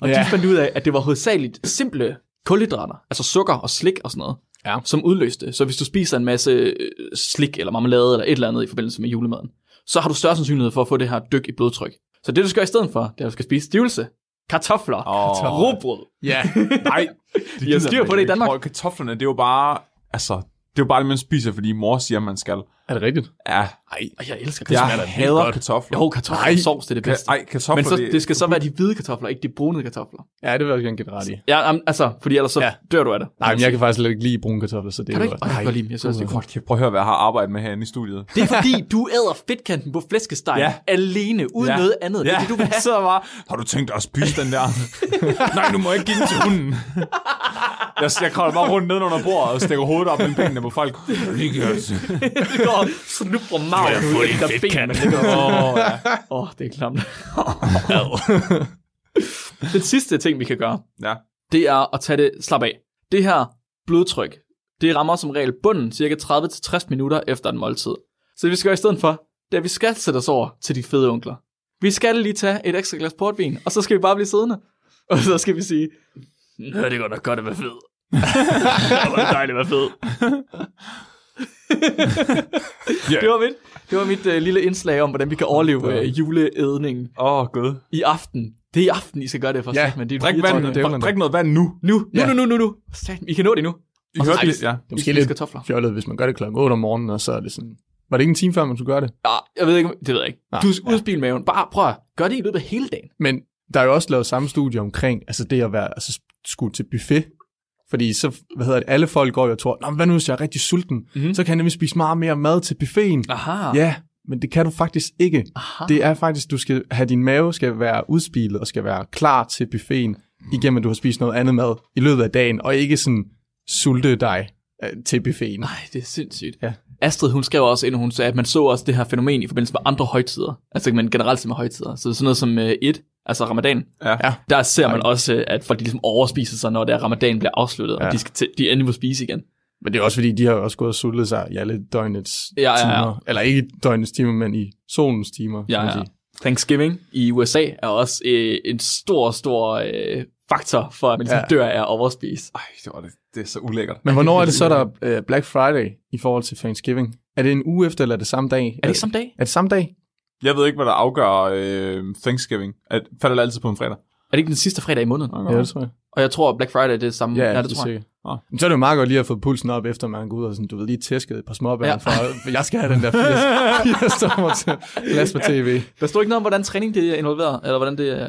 Speaker 2: Og de
Speaker 4: Ja.
Speaker 2: fandt ud af, at det var hovedsageligt simple kulhydrater, altså sukker og slik og sådan noget,
Speaker 4: Ja.
Speaker 2: som udløste. Så hvis du spiser en masse øh, slik eller marmelade eller et eller andet i forbindelse med julemaden, så har du større sandsynlighed for at få det her dyk i blodtryk. Så det, du skal gøre i stedet for, det er, at du skal spise stivelse, kartofler,
Speaker 3: Åh.
Speaker 2: oh. råbrød.
Speaker 4: Ja.
Speaker 3: Nej,
Speaker 2: Vi har
Speaker 3: gider
Speaker 2: styr
Speaker 3: man
Speaker 2: på det i
Speaker 3: ikke.
Speaker 2: Danmark.
Speaker 3: Prøv, kartoflerne, det er jo bare, altså, det er jo bare det, man spiser, fordi mor siger, man skal.
Speaker 4: Er det rigtigt?
Speaker 3: Ja,
Speaker 2: Og jeg elsker
Speaker 3: jeg
Speaker 2: kartofler.
Speaker 3: hader kartofler.
Speaker 2: Jo, kartofler og sovs, det er det bedste.
Speaker 3: Ej, kartofler,
Speaker 2: Men så, det skal så være de hvide kartofler, ikke de brune kartofler.
Speaker 4: Ja, det vil jeg gerne give dig ret i.
Speaker 2: Ja, am- altså, fordi ellers så ja.
Speaker 4: Ja.
Speaker 2: dør du af det.
Speaker 4: Nej, men jeg kan faktisk slet ikke lide brune kartofler, så det
Speaker 2: Kan du
Speaker 4: er
Speaker 2: ikke? Åh,
Speaker 4: jo...
Speaker 2: jeg kan godt lide dem. Jeg synes, det er
Speaker 3: Hold kæft, prøv at høre, hvad jeg har arbejdet med herinde i studiet.
Speaker 2: Det er fordi, du æder fedtkanten på flæskesteg ja.
Speaker 3: Ja.
Speaker 2: alene, uden ja. noget andet. Det er det, du vil
Speaker 3: jeg
Speaker 2: have.
Speaker 3: sidder bare, har du tænkt dig at spise den der? Nej, du må ikke give den til hunden. jeg, jeg kravler bare rundt nedenunder bordet og stikker hovedet op mellem benene på folk.
Speaker 2: Det går og snubber maven ud af der ben, man ligger. Åh, oh, ja. oh, det er klamt. Den sidste ting, vi kan gøre,
Speaker 3: ja.
Speaker 2: det er at tage det slap af. Det her blodtryk, det rammer som regel bunden cirka 30-60 minutter efter en måltid. Så det vi skal gøre i stedet for, det er, at vi skal sætte os over til de fede onkler. Vi skal lige tage et ekstra glas portvin, og så skal vi bare blive siddende. Og så skal vi sige, Nå, det går nok godt at være fed. det var dejligt at være fed. yeah. Det var mit, det var mit uh, lille indslag om, hvordan vi kan overleve uh, juleædningen
Speaker 3: Åh, oh, gud.
Speaker 2: i aften. Det er i aften, I skal gøre det for
Speaker 4: Ja,
Speaker 2: sig, men det er
Speaker 3: Drik
Speaker 2: jeg tror,
Speaker 3: vand.
Speaker 2: det er-
Speaker 4: dævlerne.
Speaker 3: Drik noget vand nu.
Speaker 2: nu, nu,
Speaker 4: Ja.
Speaker 2: nu, nu, nu, nu. Satan, I kan nå det nu.
Speaker 3: I
Speaker 2: Og så
Speaker 3: hørte det?
Speaker 2: spise-
Speaker 3: Ja.
Speaker 4: Det er
Speaker 2: Vi
Speaker 4: måske
Speaker 2: spiser
Speaker 4: lidt
Speaker 2: kartofler.
Speaker 4: fjollet, hvis man gør det klokken 8 om morgenen, og så er det sådan... Var det ikke en time før, man skulle gøre det?
Speaker 2: Ja, jeg ved ikke, om- det ved jeg ikke.
Speaker 4: Nej.
Speaker 2: Du skal udspille maven. Bare prøv at gøre det i løbet af hele dagen.
Speaker 4: Men der er jo også lavet samme studie omkring, altså det at være altså, skulle til buffet. Fordi så, hvad hedder det, alle folk går jo og tror, Nå, men hvad nu hvis jeg er rigtig sulten?
Speaker 2: Mhm.
Speaker 4: Mm-hmm. Så kan jeg nemlig spise meget mere mad til buffeten.
Speaker 2: Aha.
Speaker 4: Ja, men det kan du faktisk ikke.
Speaker 2: Ah. Aha.
Speaker 4: Det er faktisk, du skal have din mave skal være udspilet og skal være klar til buffeten,
Speaker 2: Hmm.
Speaker 4: igennem at du har spist noget andet mad i løbet af dagen, og ikke sådan sulte dig øh, til buffeten.
Speaker 2: Nej, det er sindssygt.
Speaker 4: Ja.
Speaker 2: Astrid, hun skrev også, inden hun sagde, at man så også det her fænomen i forbindelse med andre højtider. Altså men generelt set med højtider. Så sådan noget som øh, et, altså ramadan.
Speaker 3: Ja.
Speaker 4: Ja.
Speaker 2: Der ser man også, øh, at folk de ligesom overspiser sig, når det er ramadan bliver afsluttet, ja. og
Speaker 4: Ja.
Speaker 2: de, skal til, de endelig må spise igen.
Speaker 4: Men det er også fordi, de har jo også gået og sultet sig i alle døgnets
Speaker 2: Ja, ja, ja.
Speaker 4: timer. Eller ikke i døgnets timer, men i solens timer. kan
Speaker 2: Ja,
Speaker 4: man
Speaker 2: ja.
Speaker 4: sige.
Speaker 2: Thanksgiving i USA er også øh, en stor, stor øh, faktor for, at man ligesom
Speaker 4: Ja.
Speaker 2: dør af at overspise.
Speaker 3: Ej, det, var det. det er så ulækkert.
Speaker 4: Men hvornår er det så, der er øh, Black Friday i forhold til Thanksgiving? Er det en uge efter, eller er det samme dag?
Speaker 2: Er det ikke samme dag?
Speaker 4: Er det samme dag?
Speaker 3: Jeg ved ikke, hvad der afgør øh, Thanksgiving. At, falder det altid på en fredag?
Speaker 2: Er det ikke den sidste fredag i måneden?
Speaker 4: Ja, det tror jeg.
Speaker 2: Og jeg tror, Black Friday det er samme.
Speaker 4: Ja,
Speaker 2: Nej,
Speaker 4: det, det tror
Speaker 2: jeg.
Speaker 4: jeg. Men så er det jo meget godt lige at få pulsen op, efter man går ud og sådan, du ved, lige tæsket et par småbær, ja. for for jeg skal have den der 80, 80 tommer til plads på tv.
Speaker 2: Der stod ikke noget om, hvordan træning det er involveret, eller hvordan det, øh, hvad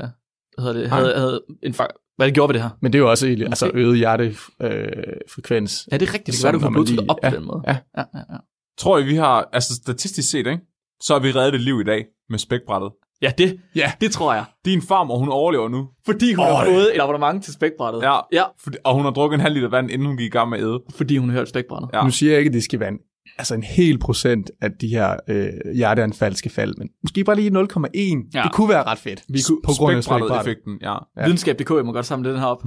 Speaker 2: hedder det havde, havde en fak- Hvad det gjorde ved det her?
Speaker 4: Men det er jo også egentlig, altså
Speaker 2: Måske.
Speaker 4: øget hjertefrekvens.
Speaker 2: Ja, det er rigtigt. Det kan være, du
Speaker 4: Sådan,
Speaker 2: kunne
Speaker 4: når man
Speaker 2: blodtrykket
Speaker 4: lige-
Speaker 2: op på
Speaker 4: ja,
Speaker 2: den måde.
Speaker 4: ja.
Speaker 2: ja, ja, ja.
Speaker 3: Tror I, vi har, altså statistisk set, ikke? Så har vi reddet et liv i dag med spækbrættet.
Speaker 2: Ja, det,
Speaker 3: Ja.
Speaker 2: det tror jeg.
Speaker 3: Din farmor, hun overlever nu.
Speaker 2: Fordi hun har
Speaker 3: Øj.
Speaker 2: fået et abonnement til spækbrættet.
Speaker 3: Ja.
Speaker 2: ja.
Speaker 3: Fordi- Og hun har drukket en halv liter vand, inden hun gik i gang med at æde.
Speaker 2: Fordi hun hørte spækbrættet.
Speaker 3: Ja.
Speaker 4: Nu siger jeg ikke, at det skal være en, altså en hel procent af de her øh, hjerteanfald skal falde, men måske bare lige 0,1.
Speaker 2: Ja.
Speaker 4: Ja. Det kunne være ret fedt.
Speaker 2: Vi kunne-
Speaker 4: på grund af
Speaker 3: Spækbrættet
Speaker 4: spækbrættet.
Speaker 3: effekten, ja.
Speaker 2: Ja. Videnskab.dk, jeg må godt samle den her op.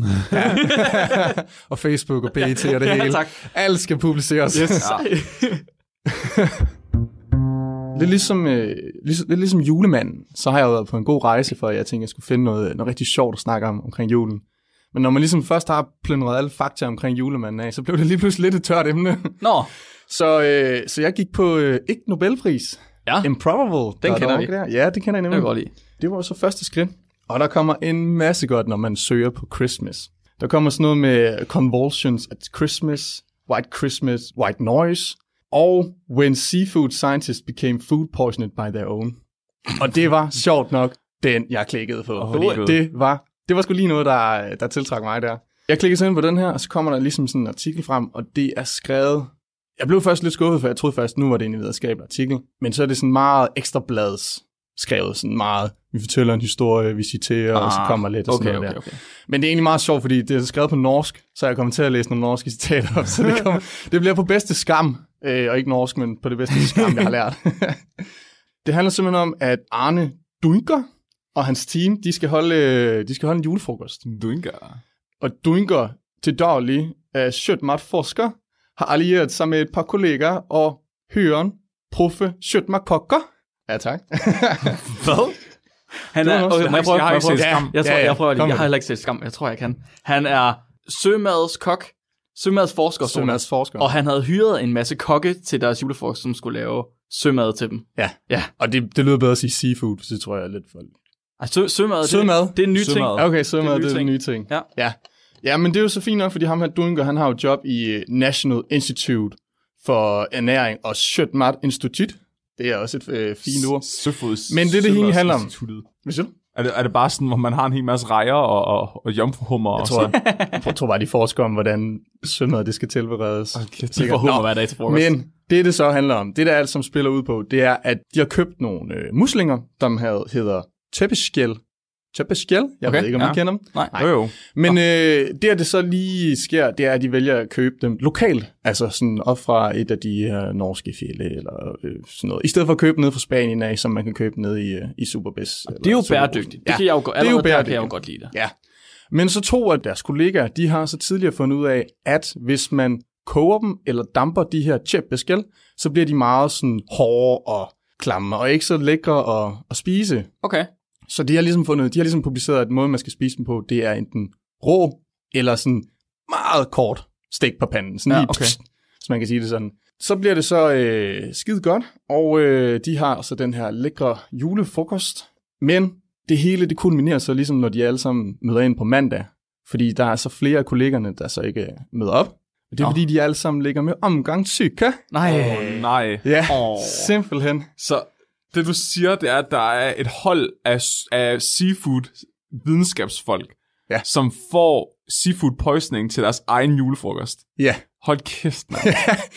Speaker 4: og Facebook og BT og det
Speaker 2: Ja,
Speaker 4: hele.
Speaker 2: tak.
Speaker 4: Alt skal publiceres.
Speaker 2: Yes.
Speaker 4: Ja. Lidt ligesom, øh, ligesom, lidt ligesom julemanden, så har jeg jo været på en god rejse, for jeg tænkte, jeg skulle finde noget, noget rigtig sjovt at snakke om omkring julen. Men når man ligesom først har plyndret alle fakta omkring julemanden af, så blev det lige pludselig lidt et tørt emne.
Speaker 2: Nå,
Speaker 4: Så, øh, så jeg gik på øh, ikke Nobelpris.
Speaker 2: Ja.
Speaker 4: Improbable.
Speaker 2: Den
Speaker 4: Der er
Speaker 2: kender
Speaker 4: dog
Speaker 2: vi.
Speaker 4: ikke Der. Ja, det kender jeg
Speaker 2: det kan
Speaker 4: nemlig.
Speaker 2: jeg godt lide.
Speaker 4: Det var så første skridt. Og der kommer en masse godt, når man søger på Christmas. Der kommer sådan noget med convulsions at Christmas, white Christmas, white noise, og when seafood scientists became food poisoned by their own. Og det var sjovt nok den, jeg klikkede på. Oh, fordi
Speaker 3: Gud.
Speaker 4: det var, det var sgu lige noget, der, der tiltrak mig der. Jeg klikkede sådan på den her, og så kommer der ligesom sådan en artikel frem, og det er skrevet... Jeg blev først lidt skuffet, for jeg troede først, nu var det en videnskabelig artikel. Men så er det sådan meget ekstra blads skrevet sådan meget, vi fortæller en historie, vi citerer, ah, og så kommer lidt og sådan
Speaker 2: Okay,
Speaker 4: noget
Speaker 2: okay, okay.
Speaker 4: der. Men det er egentlig meget sjovt, fordi det er skrevet på norsk, så jeg kommer til at læse nogle norske citater op, så det, kommer, det bliver på bedste skam, øh, og ikke norsk, men på det bedste skam, jeg har lært. det handler simpelthen om, at Arne Dunker og hans team, de skal holde, øh, de skal holde en julefrokost.
Speaker 3: Dunker.
Speaker 4: Og Dunker til daglig er Sjøtmart forsker, har allieret sig med et par kollegaer og høren proffe Sjøtmart Kokker. Ja, tak.
Speaker 2: Hvad? Han
Speaker 4: Det
Speaker 2: er,
Speaker 4: var noget.
Speaker 2: okay,
Speaker 4: Jeg
Speaker 2: må
Speaker 3: har
Speaker 2: jeg prøver,
Speaker 3: ikke- jeg har ikke set Skam.
Speaker 2: Jeg tror,
Speaker 4: Ja, ja.
Speaker 2: jeg prøver lige.
Speaker 4: Kom
Speaker 2: Jeg
Speaker 4: med
Speaker 2: har
Speaker 4: det.
Speaker 2: heller ikke set skam. Jeg tror, jeg kan. Han er sømadskok, sømadsforsker, tror jeg.
Speaker 4: Sømands forsker.
Speaker 2: og han havde hyret en masse kokke til deres julefrokost, som skulle lave sømad til dem.
Speaker 4: Ja.
Speaker 2: Ja.
Speaker 4: Og det, det lyder bedre at sige seafood, for det tror jeg er lidt for...
Speaker 2: Altså, sø, sømad,
Speaker 4: Sømad.
Speaker 2: Det, det er en ny
Speaker 3: Sømad.
Speaker 2: ting.
Speaker 4: Ja, Okay, så det er,
Speaker 2: nye
Speaker 4: det, det er
Speaker 2: ting.
Speaker 4: den nye ting.
Speaker 2: Ja.
Speaker 4: ja. Ja, men det er jo så fint nok, fordi ham her Dunker, han har jo job i øh, National Institute for Ernæring og Sjøtmart Institut. Det er også et øh, fint ord.
Speaker 3: Søfods.
Speaker 4: Men det er det, hele handler om.
Speaker 3: Sømadsinstituttet.
Speaker 4: Hvad siger du?
Speaker 3: Er det, er det bare sådan, hvor man har en hel masse rejer og, og, og jomfruhummer?
Speaker 4: Jeg
Speaker 3: og
Speaker 4: tror,
Speaker 3: sådan?
Speaker 4: jeg, jeg tror bare, de forsker om, hvordan sømad det skal tilberedes.
Speaker 3: Okay,
Speaker 2: De får hummer hver dag til frokost.
Speaker 4: Men det, det så handler om, det der alt, som spiller ud på, det er, at de har købt nogle øh, muslinger, der havde, hedder tæppeskjæl. Tæppeskjæl? Jeg
Speaker 3: Okay,
Speaker 4: ved ikke, om
Speaker 3: ja.
Speaker 4: ja. I kender dem.
Speaker 2: Nej.
Speaker 3: Jo, jo.
Speaker 4: Men øh, der det så lige sker, det er, at de vælger at købe dem lokalt, altså sådan op fra et af de her norske fjelde eller øh, sådan noget. I stedet for at købe ned fra Spanien af, som man kan købe ned i, øh, i Superbis.
Speaker 2: Det er jo bæredygtigt. Det
Speaker 4: Ja.
Speaker 2: kan jeg jo godt,
Speaker 4: det er jo
Speaker 2: allerede der kan jeg jo
Speaker 4: bæredygtigt.
Speaker 2: godt lide det.
Speaker 4: ja. Men så to af deres kollegaer, de har så tidligere fundet ud af, at hvis man koger dem eller damper de her tjepbeskæl, så bliver de meget sådan hårde og klamme, og ikke så lækre at, at spise.
Speaker 2: Okay.
Speaker 4: Så de har ligesom fundet, de har ligesom publiceret, at måden, man skal spise dem på, det er enten rå, eller sådan meget kort stik på panden. Sådan
Speaker 2: Ja,
Speaker 4: ja, lige,
Speaker 2: okay.
Speaker 4: okay. pst, hvis man kan sige det sådan. Så bliver det så øh, skide godt, og øh, de har så den her lækre julefrokost. Men det hele, det kulminerer så ligesom, når de alle sammen møder ind på mandag. Fordi der er så flere af kollegerne, der så ikke øh, møder op. Og det er
Speaker 2: Nå.
Speaker 4: fordi, de alle sammen ligger med omgangssyge.
Speaker 2: Nej.
Speaker 3: Åh, nej.
Speaker 4: Ja,
Speaker 2: Åh.
Speaker 4: oh. simpelthen.
Speaker 3: Så det, du siger, det er, at der er et hold af, af seafood-videnskabsfolk,
Speaker 4: Ja.
Speaker 3: som får seafood poisoning til deres egen julefrokost.
Speaker 4: Ja,
Speaker 3: Hold kæft, man.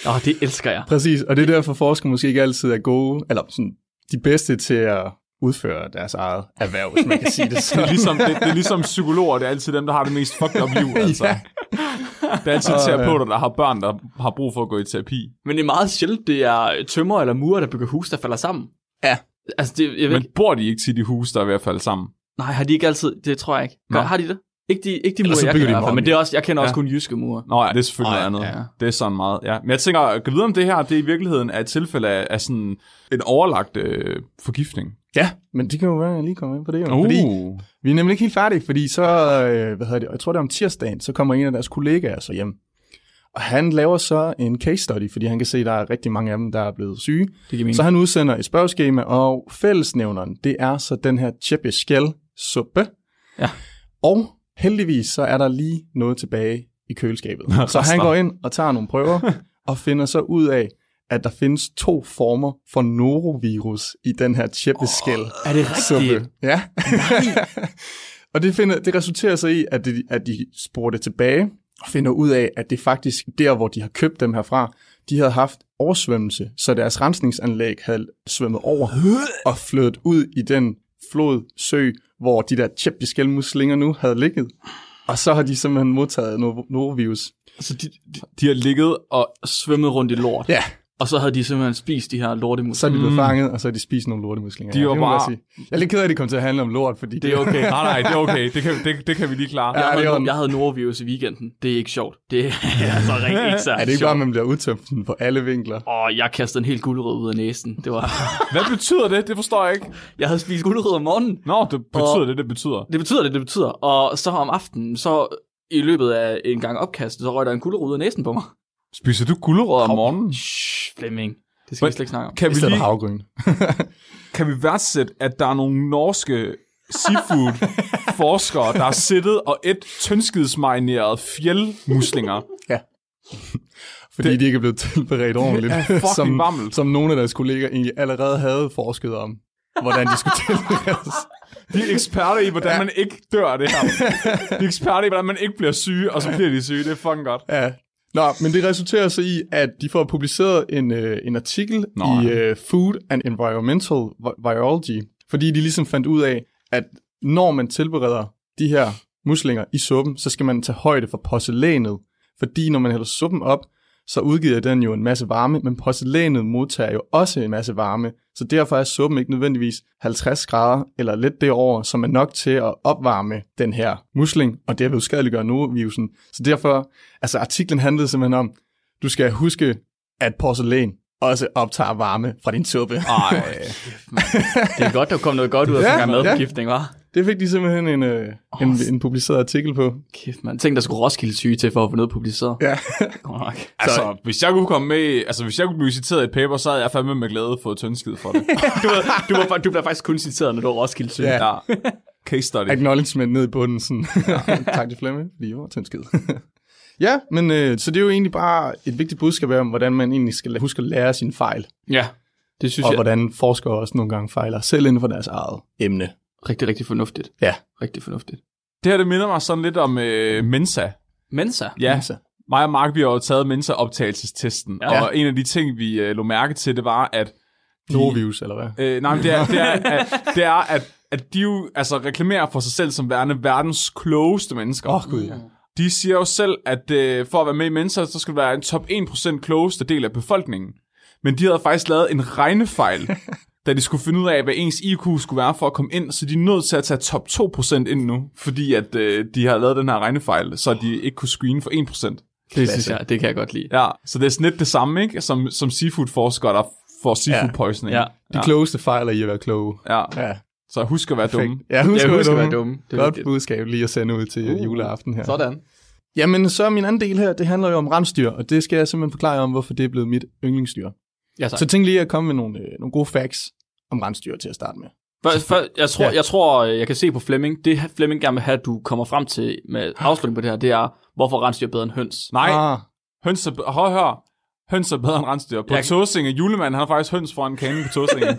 Speaker 2: Åh, det elsker jeg.
Speaker 4: Præcis, og det er derfor forskere måske ikke altid er gode, eller sådan, de bedste til at udføre deres eget erhverv, hvis man kan sige det
Speaker 3: Det er,
Speaker 4: sådan.
Speaker 3: ligesom, det, det er ligesom psykologer, det er altid dem, der har det mest fucked up liv, altså.
Speaker 4: Ja. øh,
Speaker 3: Det er altid
Speaker 4: Åh, ja.
Speaker 3: terapeuter, der har børn, der har brug for at gå i terapi.
Speaker 2: Men det er meget sjældent, det er tømmer eller murer, der bygger hus, der falder sammen.
Speaker 4: Ja.
Speaker 2: Altså, det, jeg ved
Speaker 3: Men
Speaker 2: ikke,
Speaker 3: bor de ikke tit i hus, der er i hvert fald sammen?
Speaker 2: nej, har de ikke altid, det tror jeg ikke. Godt,
Speaker 3: Nå.
Speaker 2: har de det? Ikke de, ikke de
Speaker 4: Ellers
Speaker 2: murer,
Speaker 4: så
Speaker 2: jeg
Speaker 4: Altså,
Speaker 2: kender, i
Speaker 4: bygger
Speaker 2: hvert
Speaker 4: de
Speaker 2: fald,
Speaker 4: dem
Speaker 2: men
Speaker 4: om,
Speaker 2: det er også, jeg kender også
Speaker 3: Ja.
Speaker 2: kun jyske murer.
Speaker 3: Nå ja, det er selvfølgelig
Speaker 2: Nå ja,
Speaker 3: noget andet.
Speaker 2: ja.
Speaker 3: Det er sådan meget, ja. Men jeg tænker, kan vide om det her, det i virkeligheden er et tilfælde af, af sådan en overlagt øh, forgiftning.
Speaker 4: ja, men det kan jo være, at jeg lige kommer ind på det. Jo.
Speaker 3: Uh.
Speaker 4: Fordi vi er nemlig ikke helt færdige, fordi så, øh, hvad hedder det, og jeg tror det er om tirsdagen, så kommer en af deres kollegaer så hjem. Og han laver så en case study, fordi han kan se, at der er rigtig mange af dem, der er blevet syge.
Speaker 2: Det giver
Speaker 4: Så han udsender et spørgeskema, og fællesnævneren, det er så den her tjeppeskjæl suppe.
Speaker 2: Ja.
Speaker 4: Og heldigvis, så er der lige noget tilbage i køleskabet. så han
Speaker 3: Rester.
Speaker 4: går ind og tager nogle prøver, og finder så ud af, at der findes to former for norovirus i den her tjeppeskjæl
Speaker 2: Er det rigtigt?
Speaker 4: suppe. Ja. og det, finder, det resulterer så i, at de, at de spurgte tilbage og finder ud af, at det faktisk der, hvor de har købt dem herfra, de havde haft oversvømmelse, så deres rensningsanlæg havde svømmet over og flødet ud i den flod, sø, hvor de der tjeppiske muslinger nu havde ligget. Og så har de simpelthen modtaget no- norovirus.
Speaker 2: Altså, de, de, de har ligget og svømmet rundt i lort.
Speaker 4: Ja,
Speaker 2: Og så havde de simpelthen spist de her lortemus.
Speaker 4: så er de blevet
Speaker 3: Mm.
Speaker 4: fanget, og så har de spist nogle lortemuslinger.
Speaker 3: De
Speaker 4: ja,
Speaker 3: var
Speaker 4: det må jeg
Speaker 3: bare-
Speaker 4: sige. Jeg er lidt ked af, at det kom til at handle om lort, fordi
Speaker 3: Det er okay. Nej, nej, det er okay. Det kan, det, det kan vi lige klare.
Speaker 4: Ja,
Speaker 2: Jeg,
Speaker 4: det er
Speaker 2: havde,
Speaker 4: ordentligt.
Speaker 2: jeg havde norovirus i weekenden. Det er ikke sjovt. Det er altså rigtig ikke
Speaker 4: er
Speaker 2: særlig
Speaker 4: det ikke bare, at
Speaker 2: sjovt.
Speaker 4: man bliver udtømt sådan på alle vinkler?
Speaker 2: Åh, jeg kastede en helt gulerod ud af næsen. Det var...
Speaker 3: Hvad betyder det? Det forstår jeg ikke.
Speaker 2: Jeg havde spist gulerod om morgenen.
Speaker 3: Nå, det betyder det, det betyder.
Speaker 2: Det betyder det, det betyder. Og så om aftenen, så i løbet af en gang opkast, så røg der en gulerod ud af næsen på mig.
Speaker 3: Spiser du gulerødder om morgenen?
Speaker 2: Shh, Flemming. Det skal vi
Speaker 3: Men-
Speaker 2: slet ikke snakke om.
Speaker 3: Kan
Speaker 4: I
Speaker 3: vi,
Speaker 4: stedet for
Speaker 3: lige,
Speaker 4: havgryn.
Speaker 3: kan vi værdsætte, at der er nogle norske seafood forskere, der har siddet og et tyndskidsmarineret fjeldmuslinger.
Speaker 4: Fordi
Speaker 3: Det-
Speaker 4: det, de ikke er blevet tilberedt ordentligt.
Speaker 3: er fucking
Speaker 4: som,
Speaker 3: bammel.
Speaker 4: som nogle af deres kolleger egentlig allerede havde forsket om, hvordan de skulle tilberedes.
Speaker 3: De er eksperter i, hvordan man ikke dør af det her. De er eksperter i, hvordan man ikke bliver syge, og så bliver de syge. Det er fucking godt.
Speaker 4: Ja. Nå, men det resulterer så i, at de får publiceret en, øh, en artikel
Speaker 3: Nå,
Speaker 4: Nå, i øh, Food and Environmental Vi- Virology, fordi de ligesom fandt ud af, at når man tilbereder de her muslinger i suppen, så skal man tage højde for porcelænet, fordi når man hælder suppen op, så udgiver den jo en masse varme, men porcelænet modtager jo også en masse varme, så derfor er suppen ikke nødvendigvis 50 grader eller lidt derover, som er nok til at opvarme den her musling, og derved skadeliggøre norovirusen. Så derfor, altså artiklen handlede simpelthen om, du skal huske, at porcelæn også optager varme fra din suppe.
Speaker 3: Ej.
Speaker 2: Det er godt, der kom noget godt ud af sådan
Speaker 4: Ja,
Speaker 2: en
Speaker 4: ja.
Speaker 2: madforgiftning, var.
Speaker 4: Det fik de simpelthen en, øh, en, en publiceret artikel på.
Speaker 2: Kæft, man. Tænk, der skulle Roskilde syge til for at få noget publiceret.
Speaker 4: Ja.
Speaker 2: Godt nok.
Speaker 3: Altså, hvis jeg kunne komme med, i- altså hvis jeg kunne blive citeret i et paper, så havde jeg fandme med glæde fået tyndskid for det.
Speaker 2: Du, var, du, var, du bliver faktisk kun citeret, når du er Roskilde syge.
Speaker 4: Ja.
Speaker 3: ja. Case study.
Speaker 4: acknowledgement ned i bunden. Sådan. tak til Flemme, fordi I var tyndskid. ja, men øh, så det er jo egentlig bare et vigtigt budskab om, hvordan man egentlig skal huske at lære sine fejl,
Speaker 2: ja. Det synes
Speaker 4: og
Speaker 2: jeg er
Speaker 4: hvordan forskere også nogle gange fejler, selv inden for deres eget emne.
Speaker 2: rigtig, rigtig fornuftigt.
Speaker 4: Ja.
Speaker 2: Rigtig fornuftigt.
Speaker 3: Det her, det minder mig sådan lidt om øh, Mensa.
Speaker 2: Mensa.
Speaker 3: Ja,
Speaker 4: Altså,
Speaker 3: mig og Mark, vi har jo taget Mensa-optagelsestesten,
Speaker 2: Ja.
Speaker 3: ja. og en af de ting, vi øh, lå mærke til, det var, at...
Speaker 4: Norovirus, eller hvad?
Speaker 3: Øh, nej, men det er, det er, at, det er at, at de jo altså, reklamerer for sig selv som værende verdens klogeste mennesker.
Speaker 4: Åh, gud, ja.
Speaker 3: De siger jo selv, at øh, for at være med i Mensa, så skal du være en top 1% klogeste del af befolkningen. Men de havde faktisk lavet en regnefejl, da de skulle finde ud af, hvad ens IQ skulle være for at komme ind, så de er nødt til at tage top 2% ind nu, fordi at øh, de har lavet den her regnefejl, så de ikke kunne screene for 1%.
Speaker 2: Det synes jeg, det kan jeg godt lide.
Speaker 3: Ja, så det er sådan lidt det samme, ikke? Som, som seafood-forskere, der får seafood
Speaker 4: Ja.
Speaker 3: poisoning.
Speaker 2: Ja.
Speaker 4: De klogeste fejler i at være kloge.
Speaker 3: ja.
Speaker 4: Ja,
Speaker 3: Så husk at være
Speaker 4: perfekt.
Speaker 3: dumme.
Speaker 4: Ja, husk,
Speaker 2: Jeg
Speaker 4: at
Speaker 2: husker at
Speaker 4: være
Speaker 2: være
Speaker 4: dumme.
Speaker 2: dumme. Det er
Speaker 4: Godt
Speaker 2: vigtigt.
Speaker 4: budskab lige at sende ud til uh, juleaften her.
Speaker 2: Sådan.
Speaker 4: Jamen, så er min anden del her, det handler jo om rensdyr, og det skal jeg simpelthen forklare jer om, hvorfor det er blevet mit yndlingsdyr.
Speaker 2: Ja, tak.
Speaker 4: Så tænk lige at komme med nogle, øh, nogle gode facts om rensdyr til at starte med.
Speaker 2: Først, først, jeg, tror,
Speaker 4: Ja.
Speaker 2: jeg tror, øh, jeg kan se på Flemming. Det Flemming gerne vil have, at du kommer frem til med afslutning på det her, det er, hvorfor rensdyr er bedre end høns.
Speaker 3: Nej, ah.
Speaker 4: Ah,
Speaker 3: høns er, hør, hør. Høns er bedre end rensdyr. På
Speaker 2: Jeg-
Speaker 3: Tåsinge, julemanden, han har faktisk høns foran kanen på Tåsinge.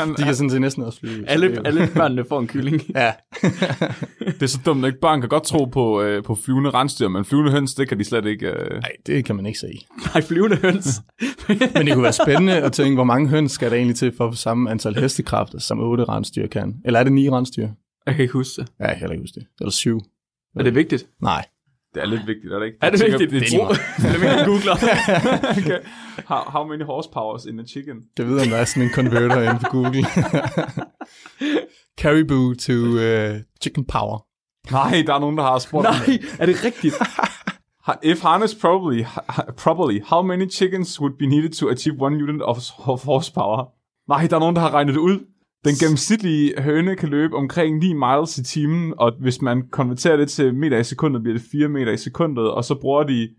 Speaker 3: han,
Speaker 4: de kan sådan set næsten også flyve. så det er
Speaker 2: Alle,
Speaker 4: jo-
Speaker 2: alle børnene får en kylling.
Speaker 4: Ja,
Speaker 3: det er så dumt, ikke? Børn kan godt tro på, øh, på flyvende rensdyr, men flyvende høns, det kan de slet ikke... Øh.
Speaker 4: nej, det kan man ikke se.
Speaker 2: Nej, flyvende høns.
Speaker 4: Men det kunne være spændende at tænke, hvor mange høns skal der egentlig til for at få samme antal hestekræfter, som otte rensdyr kan. Eller er det ni rensdyr?
Speaker 2: jeg kan ikke huske det.
Speaker 4: Ja, jeg kan heller ikke huske det. Eller syv.
Speaker 2: Er det vigtigt?
Speaker 4: Nej.
Speaker 3: Det er lidt vigtigt, er det ikke?
Speaker 2: Er det
Speaker 3: Jeg tænker,
Speaker 2: vigtigt?
Speaker 3: Det er
Speaker 2: Flemming googler.
Speaker 3: okay. how, how many horsepowers in a chicken?
Speaker 4: Det ved jeg, om der er sådan en converter inde på Google. Caribou to uh, chicken power.
Speaker 3: Nej, der er nogen, der har spurgt. om
Speaker 2: Nej,
Speaker 3: det.
Speaker 2: er det rigtigt?
Speaker 3: Ha- If harnessed properly, ha- ha- properly, how many chickens would be needed to achieve one unit of, of horsepower? Nej, der er nogen, der har regnet det ud. Den gennemsnitlige høne kan løbe omkring 9 miles i timen, og hvis man konverterer det til meter i sekundet, bliver det 4 meter i sekundet, og så bruger de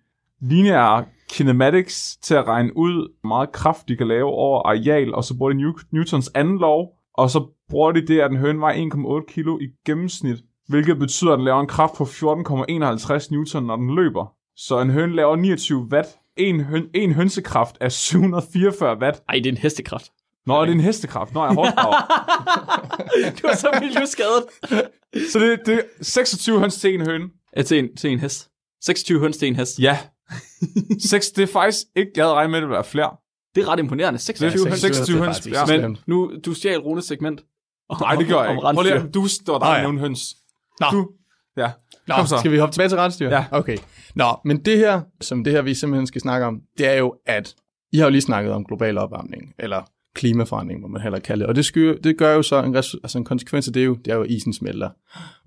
Speaker 3: linear kinematics til at regne ud, hvor meget kraft de kan lave over areal, og så bruger de New- Newtons anden lov, og så bruger de det, at en høne vejer 1,8 kilo i gennemsnit, hvilket betyder, at den laver en kraft på 14,51 newton, når den løber. Så en høne laver 29 watt. En, høn, en hønsekraft er 744 watt.
Speaker 2: Ej, det er en hestekraft.
Speaker 3: Nå, det er en hestekraft. Nå, jeg er horsepower.
Speaker 2: du er så miljøskadet.
Speaker 3: Så det, det er 26 høns til en høne.
Speaker 2: Ja, til en, til en hest. 26 høns til en hest.
Speaker 3: Ja. 6, det er faktisk ikke, jeg havde regnet med, at det ville være flere.
Speaker 2: Det er ret imponerende. 26
Speaker 3: Det er
Speaker 2: høns.
Speaker 3: 26 høns.
Speaker 4: faktisk
Speaker 3: Ja.
Speaker 4: ikke så slemt.
Speaker 2: Nu, du stjal Runes segment.
Speaker 3: Nej, det gør jeg
Speaker 2: Om
Speaker 3: ikke. Prøv lige,
Speaker 2: rensdyr.
Speaker 3: at- du står der
Speaker 4: Nå,
Speaker 3: og
Speaker 4: ja.
Speaker 3: nævner høns.
Speaker 4: Nå.
Speaker 3: Du, ja.
Speaker 4: Nå,
Speaker 3: Kom så.
Speaker 4: skal vi hoppe tilbage til rensdyr?
Speaker 3: Ja.
Speaker 4: Okay. Nå, men det her, som det her vi simpelthen skal snakke om, det er jo, at I har jo lige snakket om global opvarmning, eller klimaforandring, må man heller kalde det. Og det, skyr, det gør jo så, en, res- altså en konsekvens af det, er jo, det er jo, at isen smelter.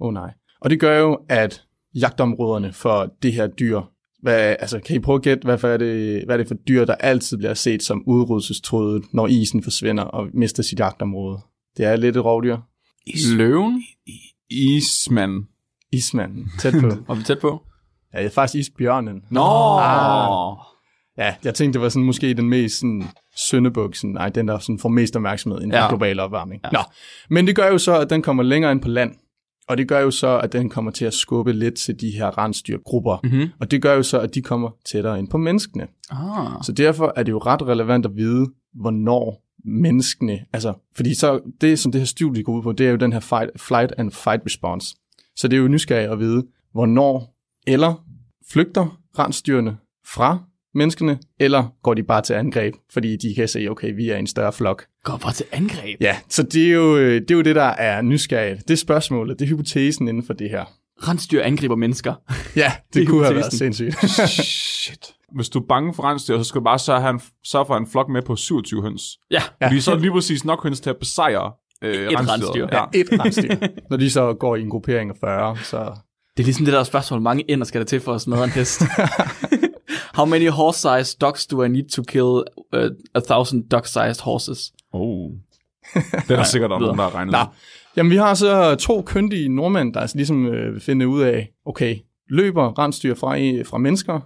Speaker 4: Åh oh, nej. Og det gør jo, at jagtområderne for det her dyr, hvad, altså, kan I prøve at gætte, hvad, for er det, hvad er det for dyr, der altid bliver set som udryddelsestruet, når isen forsvinder og mister sit jagtområde? Det er lidt et rovdyr.
Speaker 2: Løven?
Speaker 3: Ismand.
Speaker 4: Ismanden, tæt på.
Speaker 2: Var vi tæt på?
Speaker 4: ja, det er faktisk isbjørnen.
Speaker 2: Nå!
Speaker 4: Ah. Ja, jeg tænkte, det var sådan måske den mest sådan, søndebuksen, nej, den der sådan, får mest opmærksomhed i den
Speaker 2: Ja.
Speaker 4: ja. globale opvarmning. Ja. Nå. Men det gør jo så, at den kommer længere ind på land, og det gør jo så, at den kommer til at skubbe lidt til de her rensdyrgrupper,
Speaker 2: Mhm.
Speaker 4: og det gør jo så, at de kommer tættere ind på menneskene.
Speaker 2: Ah.
Speaker 4: Så derfor er det jo ret relevant at vide, hvornår menneskene, altså, fordi så det, som det her studie går ud på, det er jo den her fight, flight and fight response. Så det er jo nysgerrig at vide, hvornår eller flygter rensdyrene fra menneskene, eller går de bare til angreb, fordi de kan se, okay, vi er en større flok.
Speaker 2: Går bare til angreb.
Speaker 4: Ja, så det er jo øh, det, er jo det der er nysgerrigt. Det er spørgsmålet, det er hypotesen inden for det her.
Speaker 2: Rensdyr angriber mennesker.
Speaker 4: Ja, det,
Speaker 2: Det er
Speaker 4: det kunne have været
Speaker 2: hypotesen.
Speaker 4: sindssygt.
Speaker 3: Shit. Hvis du er bange for rensdyr, så skal du bare sørge, han, sørge for at have en flok med på 27 høns.
Speaker 2: Ja.
Speaker 3: Ja. Fordi så er det lige præcis nok høns til at besejre øh, rensdyret.
Speaker 2: rensdyr.
Speaker 3: Ja.
Speaker 4: Et rensdyr. Når de så går i en gruppering af 40, så
Speaker 2: Det er ligesom det der spørgsmål, hvor mange ender skal der til for at smadre en hest? How many horse-sized dogs do I need to kill uh, a thousand dog-sized horses?
Speaker 3: Oh. Det er der sikkert der er nogen, der har regnet.
Speaker 4: Nå,
Speaker 3: med.
Speaker 4: jamen vi har så to kyndige nordmænd, der altså ligesom øh, vil finde ud af, okay, løber rensdyr fra, fra mennesker,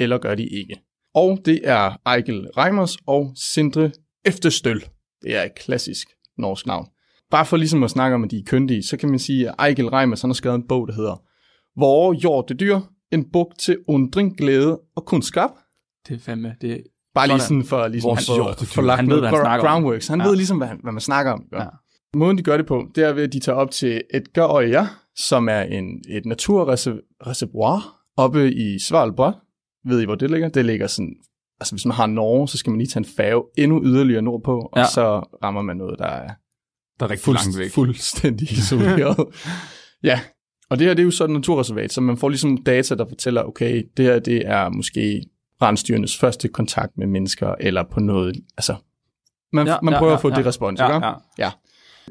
Speaker 4: eller gør de ikke? Og det er Ejkel Reimers og Sindre Efterstøl. Det er et klassisk norsk navn. Bare for ligesom at snakke om, at de er kyndige, så kan man sige, at Ejkel Reimers han har skrevet en bog, der hedder Vore hjorte dyr, en bog til undring, glæde og kunskap.
Speaker 2: Det er fandme, det er
Speaker 4: Bare lige
Speaker 2: Sådan.
Speaker 4: sådan for, ligesom
Speaker 3: Vores
Speaker 4: for,
Speaker 3: hjortedyr.
Speaker 4: for lagt
Speaker 2: Han ved,
Speaker 4: noget
Speaker 2: hvad han
Speaker 4: gro-
Speaker 2: snakker om.
Speaker 4: groundworks. Han
Speaker 2: Ja.
Speaker 4: ja. ved ligesom, hvad, han, hvad man snakker om. Ja.
Speaker 2: Ja.
Speaker 4: Måden, de gør det på, det er ved, at de tager op til Edgar Øya, som er en, et naturreservoir oppe i Svalbard. Ved I, hvor det ligger? Det ligger sådan... Altså, hvis man har Norge, så skal man lige tage en færge endnu yderligere nordpå, og
Speaker 2: Ja.
Speaker 4: ja. så rammer man noget, der er
Speaker 3: Der er rigtig langt væk.
Speaker 4: fuldstændig isoleret. ja, og det her det er jo så et naturreservat, så man får ligesom data, der fortæller, okay, det her det er måske rensdyrenes første kontakt med mennesker, eller på noget, altså, man,
Speaker 2: Ja,
Speaker 4: ja, man
Speaker 2: ja,
Speaker 4: prøver
Speaker 2: ja,
Speaker 4: at få
Speaker 2: ja.
Speaker 4: det respons,
Speaker 3: Ja,
Speaker 4: ikke?
Speaker 3: ja.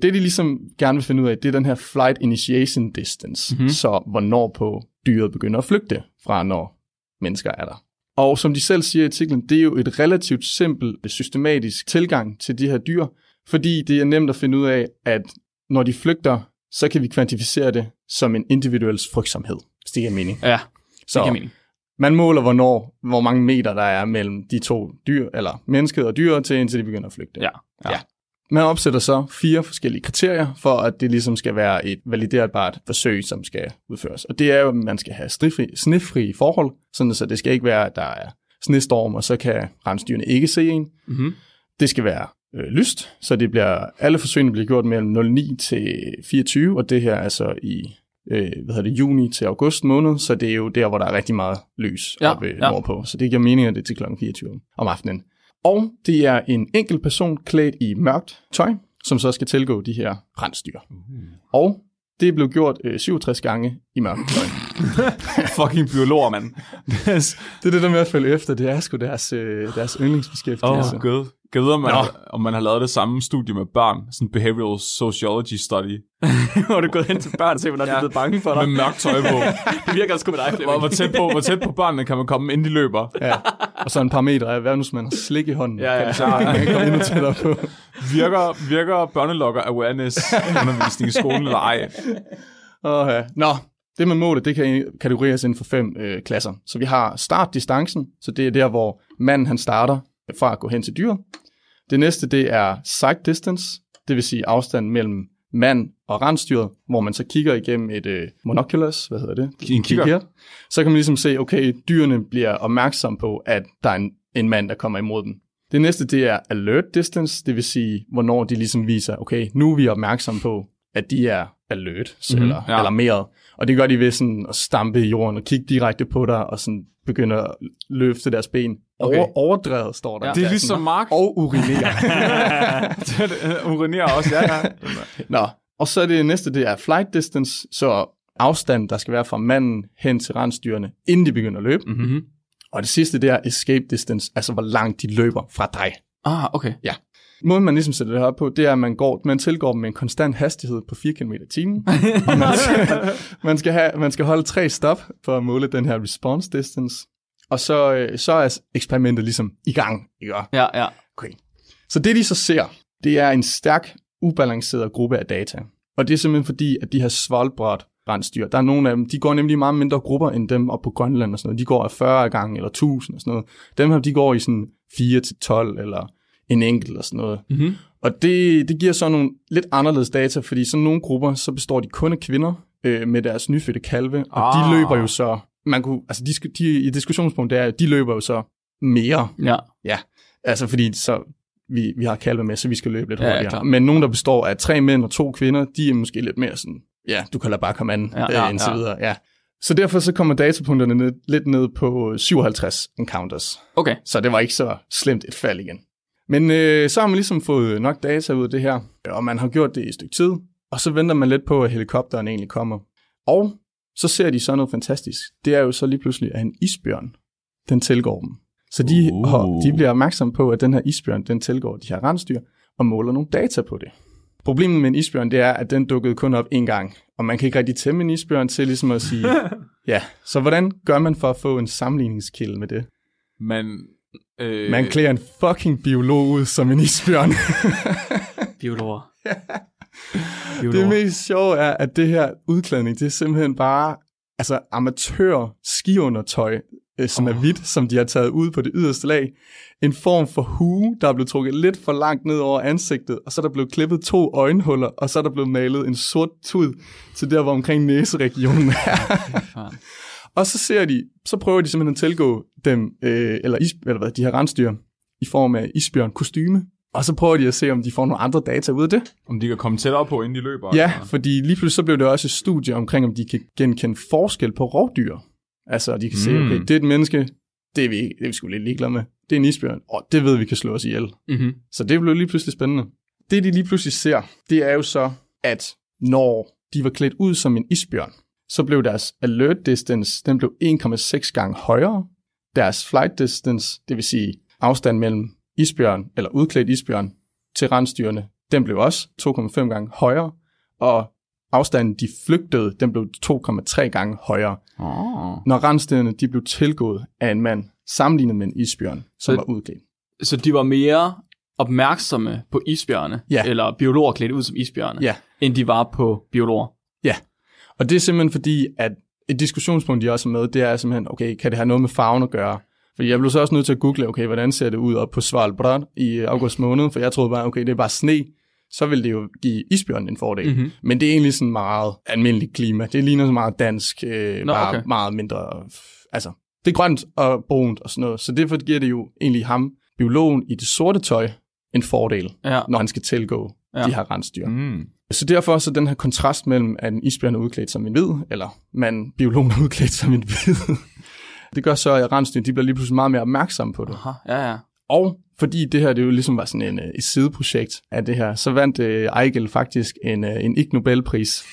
Speaker 4: Det, de ligesom gerne vil finde ud af, det er den her flight initiation distance.
Speaker 2: Mhm.
Speaker 4: Mm-hmm. Så hvornår på dyret begynder at flygte fra, når mennesker er der. Og som de selv siger i artiklen, det er jo et relativt simpelt systematisk tilgang til de her dyr, fordi det er nemt at finde ud af, at når de flygter, så kan vi kvantificere det som en individuel frygtsomhed, hvis det giver mening.
Speaker 2: Ja, det
Speaker 4: Så
Speaker 2: giver mening.
Speaker 4: man måler, hvornår, hvor mange meter der er mellem de to dyr, eller mennesket og dyret, til indtil de begynder at flygte.
Speaker 2: Ja.
Speaker 3: Ja.
Speaker 4: Man opsætter så fire forskellige kriterier for, at det ligesom skal være et validerbart forsøg, som skal udføres. Og det er jo, at man skal have snifri, snifri forhold, sådan så det skal ikke være, at der er snestorm, og så kan rensdyrene ikke se en.
Speaker 2: Mm-hmm.
Speaker 4: Det skal være øh, lyst, så det bliver, alle forsøgene bliver gjort mellem 09 til 24, og det her er så i øh, hvad hedder det, juni til august måned, så det er jo der, hvor der er rigtig meget lys
Speaker 2: Ja,
Speaker 4: ja, oppe
Speaker 2: ja.
Speaker 4: ja. nordpå. Så det giver mening, at det er til kl. 24 om aftenen. Og det er en enkelt person klædt i mørkt tøj, som så skal tilgå de her rensdyr. Og det blev gjort øh, 67 gange i mørkt tøj.
Speaker 3: Fucking biologer, mand.
Speaker 4: det er det, der med at følge efter, det er sgu deres, øh, deres yndlingsbeskæftigelse.
Speaker 3: Åh, oh, gud. Jeg ved, om man, om man har lavet det samme studie med børn. Sådan en behavioral sociology study.
Speaker 2: Hvor er du gået hen til børn og se, hvornår ja. de er blevet bange for dig.
Speaker 3: Med mørkt tøj på.
Speaker 2: det virker altså sgu med dig,
Speaker 3: Hvor,
Speaker 2: Flemming.
Speaker 3: hvor, tæt på, hvor tæt på børnene kan man komme, inden de løber.
Speaker 4: Ja. Og så en par meter af, hvad nu, hvis man har slik i hånden?
Speaker 2: Ja, ja.
Speaker 4: Kan det så ikke komme endnu tættere på?
Speaker 3: "Ah, Virker, virker børnelokker awareness undervisning i skolen eller ej?
Speaker 4: Og, ja. Nå, det med målet, det kan kategoriseres inden for fem øh, klasser. Så vi har startdistancen, så det er der, hvor manden han starter fra at gå hen til dyret. Det næste, det er sight distance, det vil sige afstanden mellem mand og rensdyret, hvor man så kigger igennem et øh, monoculus, hvad hedder det?
Speaker 3: En kigger.
Speaker 4: Kigger. Så kan man ligesom se, okay, dyrene bliver opmærksom på, at der er en, en mand, der kommer imod dem. Det næste, det er alert distance, det vil sige, hvornår de ligesom viser, okay, nu er vi opmærksomme på, at de er alert mm-hmm. eller
Speaker 3: Mhm. ja.
Speaker 4: ja. alarmeret. Og det gør de ved sådan at stampe i jorden og kigge direkte på dig og sådan begynde at løfte deres ben.
Speaker 2: Okay.
Speaker 4: Okay. Over, overdrevet står der.
Speaker 2: Ja.
Speaker 3: Det er
Speaker 4: Ja,
Speaker 3: ligesom Mark.
Speaker 4: sådan, Og urinere.
Speaker 3: Urinerer også, ja. ja.
Speaker 4: Nå, og så er det næste, det er flight distance, så afstanden, der skal være fra manden hen til rensdyrene, inden de begynder at løbe.
Speaker 2: Mm-hmm.
Speaker 4: Og det sidste, det er escape distance, altså hvor langt de løber fra dig.
Speaker 2: Ah, okay.
Speaker 4: Måden, man ligesom sætter det her op på, det er, at man, går, man tilgår dem med en konstant hastighed på 4 km i timen. og man skal, man, skal have, man skal holde tre stop for at måle den her response distance. Og så, øh, så er eksperimentet ligesom i gang. Ikke?
Speaker 2: Ja, ja.
Speaker 4: Så det, de så ser, det er en stærk, ubalanceret gruppe af data. Og det er simpelthen fordi, at de her svolbræt rensdyr, der er nogle af dem, de går nemlig i meget mindre grupper end dem op på Grønland og sådan noget. De går af 40 gange eller 1000 og sådan noget. Dem her, de går i sådan 4 til 12 eller en enkelt eller sådan noget.
Speaker 2: Mm-hmm.
Speaker 4: Og det, det giver så nogle lidt anderledes data, fordi sådan nogle grupper, så består de kun af kvinder øh, med deres nyfødte kalve, og ah.
Speaker 3: Ah.
Speaker 4: de løber jo så, man kunne, altså de, sku- de, i diskussionspunkt, det er, at de løber jo så mere,
Speaker 2: Ja.
Speaker 4: altså fordi så vi, vi har kalve med, så vi skal løbe lidt
Speaker 2: Ja, ja,
Speaker 4: hurtigere.
Speaker 2: klart.
Speaker 4: Men nogen, der består af tre mænd og to kvinder, de er måske lidt mere sådan, ja, du kan lade bare komme an,
Speaker 2: Ja, ja,
Speaker 4: øh, indtil
Speaker 2: ja.
Speaker 4: videre, ja. Så derfor så kommer datapunkterne ned, lidt ned på 57 encounters.
Speaker 2: Okay.
Speaker 4: Så det var ikke så slemt et fald igen. Men øh, så har man ligesom fået nok data ud af det her, og man har gjort det i et stykke tid, og så venter man lidt på, at helikopteren egentlig kommer. Og så ser de så noget fantastisk. Det er jo så lige pludselig, at en isbjørn, den tilgår dem. Så de,
Speaker 3: Uh.
Speaker 4: og de bliver opmærksomme på, at den her isbjørn, den tilgår de her rensdyr, og måler nogle data på det. Problemet med en isbjørn, det er, at den dukkede kun op én gang, og man kan ikke rigtig tæmme en isbjørn til ligesom at sige, ja, så hvordan gør man for at få en sammenligningskilde med det?
Speaker 3: Men... Øh,
Speaker 4: Man klæder en fucking biolog ud som en isbjørn.
Speaker 2: Biologer.
Speaker 4: det
Speaker 2: Biologer.
Speaker 4: mest sjove er, at det her udklædning, det er simpelthen bare altså amatør skiundertøj, øh, som oh. er hvidt, som de har taget ud på det yderste lag. En form for hue, der er blevet trukket lidt for langt ned over ansigtet, og så er der blevet klippet to øjenhuller, og så er der blevet malet en sort tud til der, hvor omkring næseregionen er.
Speaker 2: Fanden.
Speaker 4: Og så ser de, så prøver de simpelthen at tilgå dem, øh, eller, is, eller hvad, de her rensdyr, i form af isbjørn kostyme. Og så prøver de at se, om de får nogle andre data ud af det.
Speaker 3: Om de kan komme tættere på, inden de løber.
Speaker 4: Ja,
Speaker 3: eller-
Speaker 4: fordi lige pludselig så blev det også et studie omkring, om de kan genkende forskel på rovdyr. Altså, de kan mm. se,
Speaker 3: Mm.
Speaker 4: okay, det er et menneske, det er vi, det er vi sgu lidt ligeglade med. Det er en isbjørn, og det ved vi kan slå os ihjel.
Speaker 2: Mm-hmm.
Speaker 4: Så det blev lige pludselig spændende. Det, de lige pludselig ser, det er jo så, at når de var klædt ud som en isbjørn, så blev deres alert distance, den blev 1,6 gange højere. Deres flight distance, det vil sige afstand mellem isbjørn, eller udklædt isbjørn, til rensdyrene, den blev også 2,5 gange højere. Og afstanden, de flygtede, den blev 2,3 gange højere.
Speaker 2: Oh.
Speaker 4: Når rensdyrene, de blev tilgået af en mand, sammenlignet med en isbjørn, som
Speaker 2: Så-
Speaker 4: var udklædt.
Speaker 2: Så de var mere opmærksomme på isbjørne,
Speaker 4: Ja.
Speaker 2: eller biologer klædt ud som isbjørne,
Speaker 4: Ja.
Speaker 2: end de var på biologer.
Speaker 4: Og det er simpelthen fordi, at et diskussionspunkt, de også er med, det er simpelthen, okay, kan det have noget med farven at gøre? Fordi jeg blev så også nødt til at google, okay, hvordan ser det ud op på Svalbard i august måned? For jeg troede bare, okay, det er bare sne. Så vil det jo give isbjørnen en fordel.
Speaker 2: Mhm.
Speaker 4: Mm-hmm. Men det er egentlig sådan meget almindeligt klima. Det ligner så meget dansk, øh,
Speaker 2: Nå,
Speaker 4: Nå, bare
Speaker 2: okay.
Speaker 4: okay. meget mindre... Altså, det er grønt og brunt og sådan noget. Så derfor giver det jo egentlig ham, biologen i det sorte tøj, en fordel,
Speaker 2: Ja.
Speaker 4: når han skal tilgå
Speaker 2: Ja.
Speaker 4: ja. de her rensdyr.
Speaker 3: Mm.
Speaker 4: Så derfor så den her kontrast mellem, at en isbjørn er udklædt som en hvid, eller man, biologen er udklædt som en hvid, det gør så, at rensdyr, de bliver lige pludselig meget mere opmærksomme på det.
Speaker 2: Aha, ja, ja.
Speaker 4: Og fordi det her, det jo ligesom var sådan en, øh, et sideprojekt af det her, så vandt øh, Eichel faktisk en, øh, en ikke Nobelpris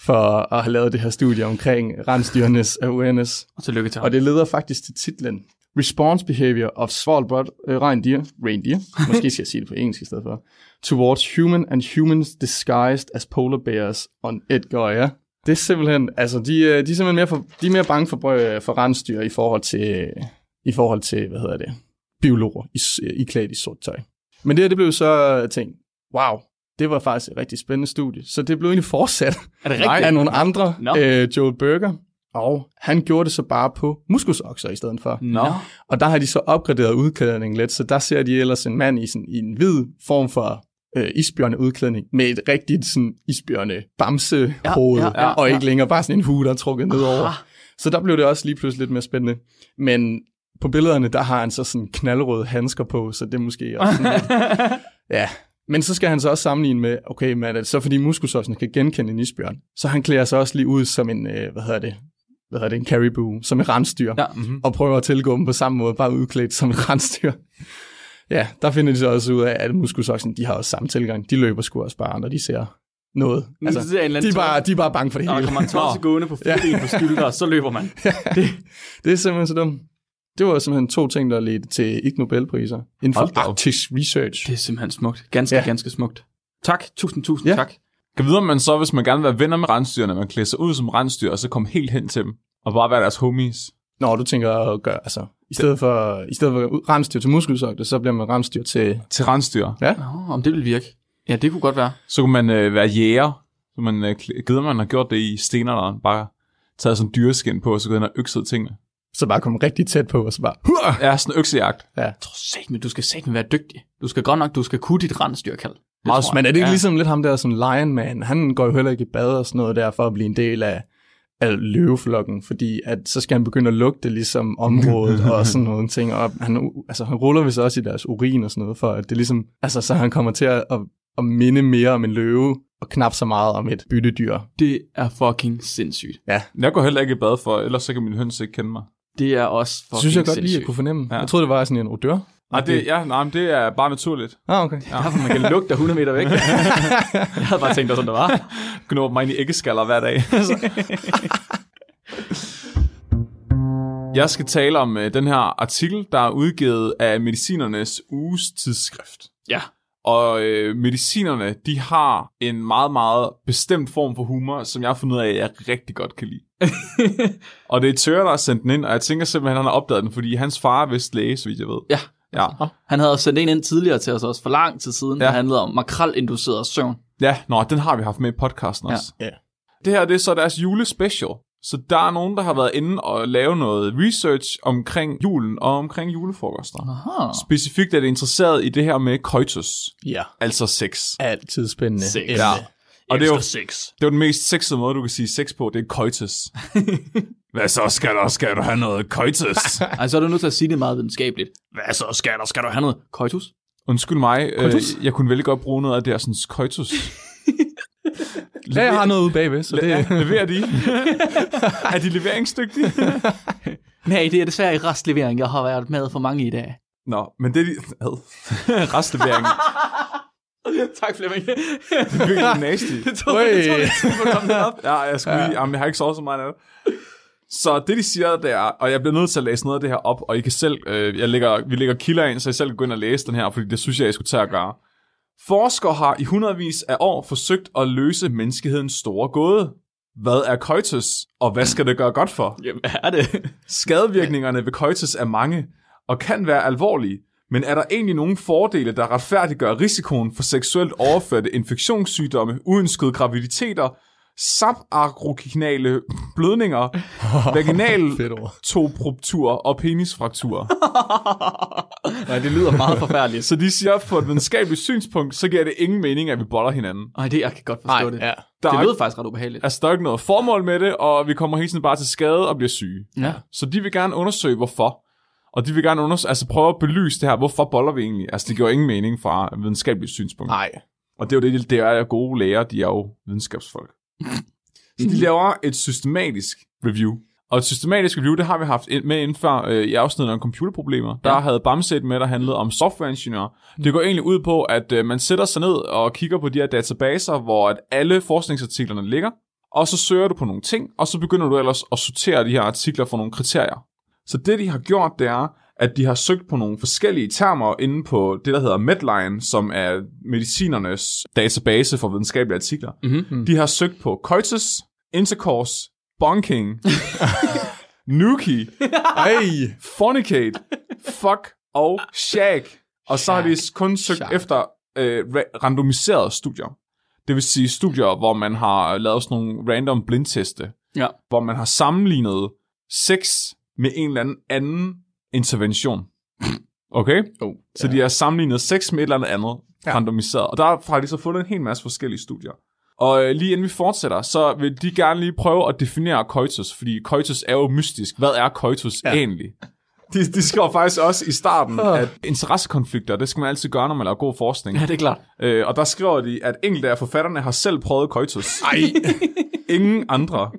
Speaker 4: for at have lavet det her studie omkring rensdyrenes awareness.
Speaker 2: Og tillykke til ham.
Speaker 4: Og det leder faktisk til titlen Response Behavior of Svalbard øh, Reindeer, reindeer måske skal jeg sige det på engelsk i stedet for, towards human and humans disguised as polar bears on Edgøya. Det er simpelthen, altså de, øh, de er simpelthen mere, for, de er mere bange for, øh, for rensdyr i forhold til, i forhold til, hvad hedder det, biologer i, s- i klædt i sort tøj. Men det her, det blev så øh, tænkt, wow, det var faktisk et rigtig spændende studie. Så det blev egentlig fortsat
Speaker 2: Er det
Speaker 4: af nogle andre,
Speaker 2: Nå.
Speaker 4: no. øh, Joel Berger. Og han gjorde det så bare på muskusokser i stedet for.
Speaker 2: Nå.
Speaker 4: Og der har de så opgraderet udklædningen lidt, så der ser de ellers en mand i, sådan, i en hvid form for øh, isbjørneudklædning med et rigtigt sådan, isbjørne bamse hoved
Speaker 2: Ja,
Speaker 4: ja,
Speaker 2: ja, ja,
Speaker 4: og
Speaker 2: ja. Ah.
Speaker 4: ikke længere bare sådan en hue, der er trukket nedover. Så der blev det også lige pludselig lidt mere spændende. Men på billederne, der har han så sådan knaldrøde handsker på, så det er måske også sådan lidt, ja, Men så skal han så også sammenligne med, okay, men er det så fordi muskelsossen kan genkende en isbjørn, så han klæder sig også lige ud som en, øh, hvad hedder det, hvad hedder det, en caribou, som et rensdyr,
Speaker 2: Ja.
Speaker 4: mm-hmm. og prøver at tilgå dem på samme måde, bare udklædt som et rensdyr. Ja, der finder de så også ud af, at muskelsoksen, de har også samme tilgang. De løber sgu også bare, når de ser noget. Altså,
Speaker 2: det er en eller
Speaker 4: de,
Speaker 2: anden
Speaker 4: er bare, de er bare bange for det
Speaker 2: Når der
Speaker 4: hele.
Speaker 2: kommer en tosse gående på fire ben på skylder, så løber man.
Speaker 4: Det er simpelthen så dumt. Det var simpelthen to ting, der ledte til ikke Nobelpriser inden
Speaker 3: Hold da
Speaker 4: for
Speaker 3: op.
Speaker 4: Arctic Research.
Speaker 2: Det er simpelthen smukt. Ganske, ja.
Speaker 4: Ja.
Speaker 2: ganske smukt. Tak. Tusind, tusind ja.
Speaker 4: Ja.
Speaker 2: tak.
Speaker 3: Kan vide, om man så, hvis man gerne vil være venner med rensdyrene, man klæder sig ud som rensdyr, og så komme helt hen til dem, og bare være deres homies.
Speaker 4: Nå, du tænker at gøre, altså, i stedet for, i stedet for rensdyr til muskelsokte, så bliver man rensdyr til...
Speaker 3: Til rensdyr.
Speaker 2: Nå, om det vil virke. Ja, det kunne godt være.
Speaker 3: Så kunne man øh, være jæger. Så man øh, klæ- gider man har gjort det i stenalderen. Bare taget sådan en dyreskin på, og så gået ind og økset tingene.
Speaker 4: Så bare komme rigtig tæt på, og så bare... Hua!
Speaker 3: Ja, sådan en øksejagt.
Speaker 2: Jeg tror satme, du skal satme være dygtig. Du skal godt nok, du skal kunne dit rensdyrkald. Det
Speaker 4: Meget,
Speaker 2: tror jeg.
Speaker 4: men er det ikke
Speaker 2: ja.
Speaker 4: ja. ligesom lidt ham der som Lion Man? Han går jo heller ikke i bad og sådan noget der, for at blive en del af, af løveflokken, fordi at, så skal han begynde at lugte ligesom området og sådan nogle ting. Og han, altså, han ruller vist også i deres urin og sådan noget, for at det ligesom, altså, så han kommer til at, at, at minde mere om en løve, og knap så meget om et byttedyr.
Speaker 2: Det er fucking sindssygt.
Speaker 3: Jeg går heller ikke i bad for, ellers så kan min høns ikke kende mig.
Speaker 2: Det er også fucking
Speaker 4: Det synes jeg godt lige,
Speaker 2: sindssygt.
Speaker 4: jeg kunne fornemme.
Speaker 3: Ja.
Speaker 4: Ja. Jeg troede, det var sådan en odør.
Speaker 3: Nej, det, ja, nej, men det er bare naturligt.
Speaker 4: Ah, okay.
Speaker 2: Ja. Derfor man kan lugte dig 100 meter væk. jeg havde bare tænkt, det var sådan, det var.
Speaker 3: Gnår mig ind i æggeskaller hver dag. Jeg skal tale om øh, den her artikel, der er udgivet af Medicinernes Uges tidsskrift.
Speaker 2: Ja.
Speaker 3: Og øh, medicinerne, de har en meget, meget bestemt form for humor, som jeg har fundet ud af, at jeg rigtig godt kan lide. og det er Tør, der har sendt den ind, og jeg tænker simpelthen, at han har opdaget den, fordi hans far er vist læge, så vidt jeg ved.
Speaker 2: Ja.
Speaker 3: Ja,
Speaker 2: Han havde sendt en ind tidligere til os også, for lang tid siden,
Speaker 3: Ja.
Speaker 2: ja. der handlede om makrelinduceret søvn.
Speaker 3: ja nå, den har vi haft med i podcasten
Speaker 2: Ja.
Speaker 3: også.
Speaker 4: Ja.
Speaker 3: Det her, det er så deres julespecial. Så der er nogen, der har været inde og lave noget research omkring julen og omkring julefrokoster.
Speaker 2: Aha.
Speaker 3: Specifikt er det interesseret i det her med coitus,
Speaker 4: Ja.
Speaker 3: altså sex.
Speaker 4: Altid spændende.
Speaker 2: Sex.
Speaker 4: emne.
Speaker 3: Ja. Og det er jo
Speaker 2: sex.
Speaker 3: Det er jo den mest sexede måde, du kan sige sex på, det er coitus. Hvad så, skal der? Skal du have noget coitus?
Speaker 2: Ej, Altså, så er du nødt til at sige det meget videnskabeligt. Hvad så, skal der? Skal du have noget? Koitus?
Speaker 3: Undskyld mig, øh,
Speaker 4: Coitus?
Speaker 3: jeg kunne vældig godt bruge noget af det her sådan coitus.
Speaker 4: Ja, jeg har noget ude bagved, så det...
Speaker 3: Le- leverer de? er de leveringsdygtige?
Speaker 2: Nej, det er desværre i restlevering. Jeg har været med for mange i dag.
Speaker 3: Nå, men det er de... Ad. Restlevering.
Speaker 2: tak, Flemming.
Speaker 3: Det er virkelig nasty.
Speaker 2: det tog, det tog
Speaker 4: Øj.
Speaker 2: lidt tid for at komme derop.
Speaker 3: Ja, jeg skulle lige... Jamen, jeg har ikke sovet så meget af det. Så det, de siger, det er... Og jeg bliver nødt til at læse noget af det her op, og I kan selv... Øh, jeg lægger, vi lægger kilder ind, så I selv kan gå ind og læse den her, fordi det synes jeg, I skulle tage at gøre. Forskere har i hundredvis af år forsøgt at løse menneskehedens store gåde. Hvad er coitus, og hvad skal det gøre godt for?
Speaker 2: Jamen, hvad er det?
Speaker 3: Skadevirkningerne ved coitus er mange, og kan være alvorlige, men er der egentlig nogen fordele, der retfærdiggør risikoen for seksuelt overførte infektionssygdomme, uønskede graviditeter, sabarokrinale blødninger, vaginal
Speaker 4: Fedt ord.
Speaker 3: toproptur og penisfrakturer.
Speaker 2: Nej, det lyder meget forfærdeligt.
Speaker 3: Så de siger, at på et videnskabeligt synspunkt, så giver det ingen mening, at vi boller hinanden.
Speaker 2: Nej, det jeg kan godt forstå det.
Speaker 4: Ja.
Speaker 3: Der
Speaker 2: Det
Speaker 3: er, ikke,
Speaker 2: lød faktisk ret ubehageligt.
Speaker 3: altså, der er ikke noget formål med det, og vi kommer hele tiden bare til skade og bliver syge.
Speaker 2: Ja.
Speaker 3: Så de vil gerne undersøge, hvorfor. Og de vil gerne undersøge, altså prøve at belyse det her, hvorfor boller vi egentlig? Altså det giver ingen mening fra et videnskabeligt synspunkt.
Speaker 4: Nej.
Speaker 3: Og det er jo det, det er gode læger, de er jo videnskabsfolk. Så de laver et systematisk review. Og et systematisk review, det har vi haft ind- med inden for øh, i afsnittet om computerproblemer. Der
Speaker 2: Ja.
Speaker 3: havde Bamset med, der handlede om softwareingeniører. Det går egentlig ud på, at øh, man sætter sig ned og kigger på de her databaser, hvor at alle forskningsartiklerne ligger. Og så søger du på nogle ting, og så begynder du ellers at sortere de her artikler for nogle kriterier. Så det, de har gjort, det er, at de har søgt på nogle forskellige termer inde på det, der hedder Medline, som er medicinernes database for videnskabelige artikler.
Speaker 4: Mm-hmm.
Speaker 2: Mhm.
Speaker 3: De har søgt på coitus, intercourse, bonking, nuki,
Speaker 4: Ej.
Speaker 3: fornicate, fuck og shag. Og så har de kun søgt
Speaker 4: Shag.
Speaker 3: efter øh, ra- randomiserede studier. Det vil sige studier, hvor man har lavet sådan nogle random blindteste,
Speaker 2: Ja.
Speaker 3: hvor man har sammenlignet sex med en eller anden anden intervention. Okay?
Speaker 4: Oh,
Speaker 3: Så de har sammenlignet sex med et eller andet andet, ja.
Speaker 4: Ja.
Speaker 3: randomiseret. Og der har de så fundet en hel masse forskellige studier. Og øh, lige inden vi fortsætter, så vil de gerne lige prøve at definere coitus, fordi coitus er jo mystisk. Hvad er coitus ja.
Speaker 4: Ja.
Speaker 3: egentlig? de, de skriver faktisk også i starten, at interessekonflikter, det skal man altid gøre, når man laver god forskning.
Speaker 2: Ja, det er klart.
Speaker 3: Øh, og der skriver de, at enkelte af forfatterne har selv prøvet coitus. Nej. Ingen andre.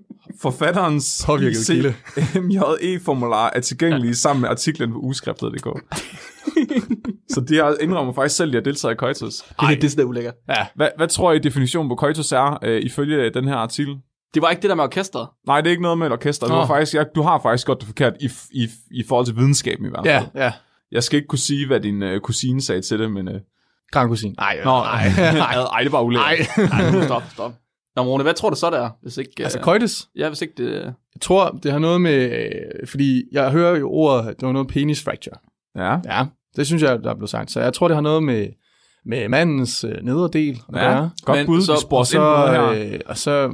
Speaker 3: Forfatterens
Speaker 4: Påvirket kilde.
Speaker 3: MJE-formular er tilgængelige sammen med artiklen på uskriftet.dk. Så de har indrømmer faktisk selv, at de har deltaget i coitus.
Speaker 2: Det, er- det, det er ulækkert.
Speaker 3: Hvad, hvad tror I definitionen på coitus er, øh, ifølge den her artikel?
Speaker 2: Det var ikke det der med orkestret.
Speaker 3: Nej, det er ikke noget med et orkester. Du,
Speaker 4: Nå.
Speaker 3: har faktisk, jeg, du har faktisk godt det forkert i, f- i, f- i forhold til videnskaben i hvert fald.
Speaker 4: Ja, ja.
Speaker 3: Jeg skal ikke kunne sige, hvad din øh, kusine sagde til det, men... Øh,
Speaker 4: Grand Cousin. Nej,
Speaker 3: nå, nej, nej, nej, det var
Speaker 4: nej.
Speaker 3: ulækkert.
Speaker 2: Nej, nu stop, stop. Nå, Rune, hvad tror du så, der er? Hvis ikke,
Speaker 4: altså,
Speaker 2: øh,
Speaker 4: coitus.
Speaker 2: ja, hvis ikke det... øh,
Speaker 4: Jeg tror, det har noget med... øh, Fordi jeg hører jo ordet, at det var noget penis fracture.
Speaker 3: Ja.
Speaker 4: Ja, det synes jeg, der er blevet sagt. Så jeg tror, det har noget med, med mandens øh, nederdel. at
Speaker 3: Ja,
Speaker 4: gøre.
Speaker 3: godt
Speaker 2: Men
Speaker 3: bud.
Speaker 2: så-
Speaker 3: Så,
Speaker 2: og
Speaker 4: Og
Speaker 3: så,
Speaker 4: så,
Speaker 3: ind på noget her.
Speaker 4: øh, og så, øh,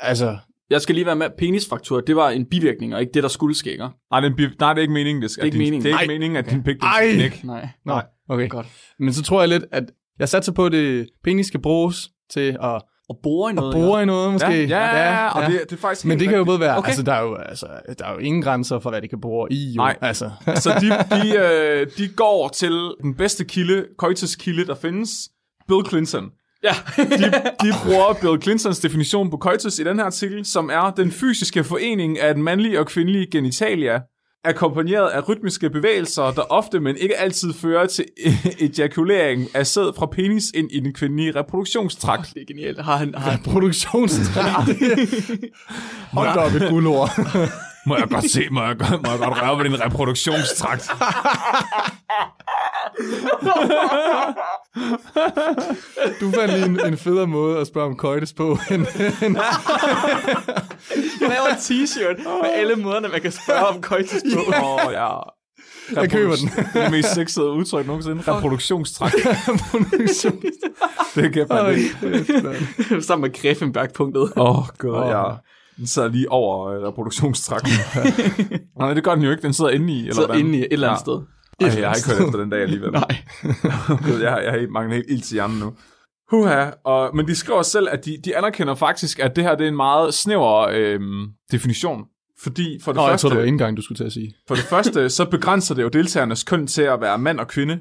Speaker 4: altså,
Speaker 2: Jeg skal lige være med. Penisfraktur, det var en bivirkning, og ikke det, der skulle ske, ikke?
Speaker 3: nej, det er, en bi- nej, det er ikke meningen, det skal.
Speaker 2: Det er ikke
Speaker 3: din,
Speaker 2: meningen.
Speaker 3: Det er ikke
Speaker 4: Nej.
Speaker 3: meningen, at din pik den
Speaker 4: Ej.
Speaker 3: skal knække.
Speaker 2: Nej.
Speaker 4: nej, okay.
Speaker 2: Godt.
Speaker 4: Men så tror jeg lidt, at jeg satser på, at det penis skal bruges til at,
Speaker 2: Og bore i
Speaker 4: at
Speaker 2: noget.
Speaker 4: bore i noget, måske.
Speaker 3: Ja, ja, ja, ja, og det, det er faktisk
Speaker 4: Men
Speaker 3: helt
Speaker 4: det kan jo
Speaker 3: rigtigt.
Speaker 4: både være,
Speaker 2: Okay.
Speaker 4: okay. altså, der er jo, altså, der er jo ingen grænser for, hvad det kan bruge i, jo.
Speaker 3: Nej.
Speaker 4: Altså,
Speaker 3: Så de, de, øh, de går til den bedste kilde, coitus kilde, der findes, Bill Clinton.
Speaker 2: Ja.
Speaker 3: De, de bruger Bill Clintons definition på coitus i den her artikel, som er den fysiske forening af en mandlig og kvindelig genitalia, akkompagneret af rytmiske bevægelser, der ofte, men ikke altid, fører til ejakulering af sæd fra penis ind i den kvindelige reproduktionstrakt.
Speaker 2: det er genialt. Har han, har han,
Speaker 4: produktionstræk. Hold da op et guldord.
Speaker 3: Må jeg godt se, må jeg godt, må jeg godt røre ved din reproduktionstrakt?
Speaker 4: Du fandt lige en, en federe måde at spørge om coitus på, end, end
Speaker 2: han laver en t-shirt med alle måderne, man kan spørge om coitus på.
Speaker 3: Åh, oh, ja.
Speaker 4: Jeg køber den.
Speaker 3: Reproduks- det mest sexede udtryk nogensinde. Reproduktionstrakt.
Speaker 4: produktion.
Speaker 3: Det kan man ikke.
Speaker 2: Sammen med Greffenberg-punktet.
Speaker 3: Åh, oh, god,
Speaker 4: Åh.
Speaker 3: ja. Den sidder lige over øh, reproduktionstrakten. Nej, det gør den jo ikke. Den sidder inde i. Eller
Speaker 2: Så
Speaker 3: hvordan?
Speaker 2: inde i et eller andet
Speaker 3: Ja.
Speaker 2: sted.
Speaker 3: Ej, jeg har ikke hørt efter den dag alligevel.
Speaker 2: Nej.
Speaker 3: Gud, jeg, har- jeg har helt manglet helt ild til hjernen nu. Huha, og, men de skriver selv, at de, de anerkender faktisk, at det her det er en meget snæver øhm, definition. Fordi for det,
Speaker 4: Nå, jeg
Speaker 3: første,
Speaker 4: tror, det var
Speaker 2: øh,
Speaker 4: indgang, du skulle til at sige.
Speaker 3: for det første, så begrænser det jo deltagernes køn til at være mand og kvinde,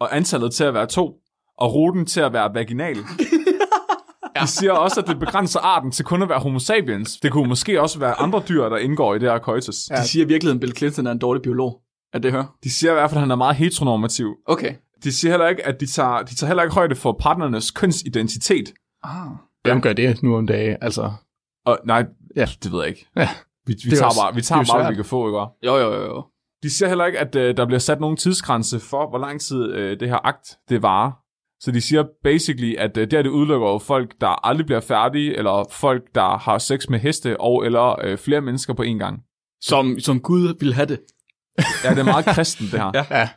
Speaker 3: og antallet til at være to, og ruten til at være vaginal. De siger også, at det begrænser arten til kun at være homo sapiens. Det kunne måske også være andre dyr, der indgår i det her coitus.
Speaker 2: De siger i virkeligheden, at Bill Clinton er en dårlig biolog. Er det her?
Speaker 3: De siger i hvert fald, at han er meget heteronormativ.
Speaker 2: Okay.
Speaker 3: De siger heller ikke, at de tager, de tager heller ikke højde for partnernes kønsidentitet.
Speaker 2: Ah.
Speaker 4: Hvem gør det nu om dagen? Altså,
Speaker 3: Og nej, ja.
Speaker 4: Ja.
Speaker 3: det ved jeg ikke.
Speaker 4: Ja.
Speaker 3: Vi, vi
Speaker 4: er
Speaker 3: tager
Speaker 4: også-
Speaker 3: bare, vi
Speaker 4: det er
Speaker 3: tager
Speaker 4: jo
Speaker 3: bare,
Speaker 4: svært.
Speaker 3: vi kan få, ikke?
Speaker 2: Jo, jo, jo, jo.
Speaker 3: De siger heller ikke, at øh, der bliver sat nogen tidsgrænse for, hvor lang tid øh, det her akt, det varer. Så de siger basically, at øh, det her, det udelukker jo folk, der aldrig bliver færdige, eller folk, der har sex med heste, og eller øh, flere mennesker på én gang.
Speaker 2: Som, som Gud ville have det.
Speaker 3: Ja, det er meget kristen, det her.
Speaker 4: ja.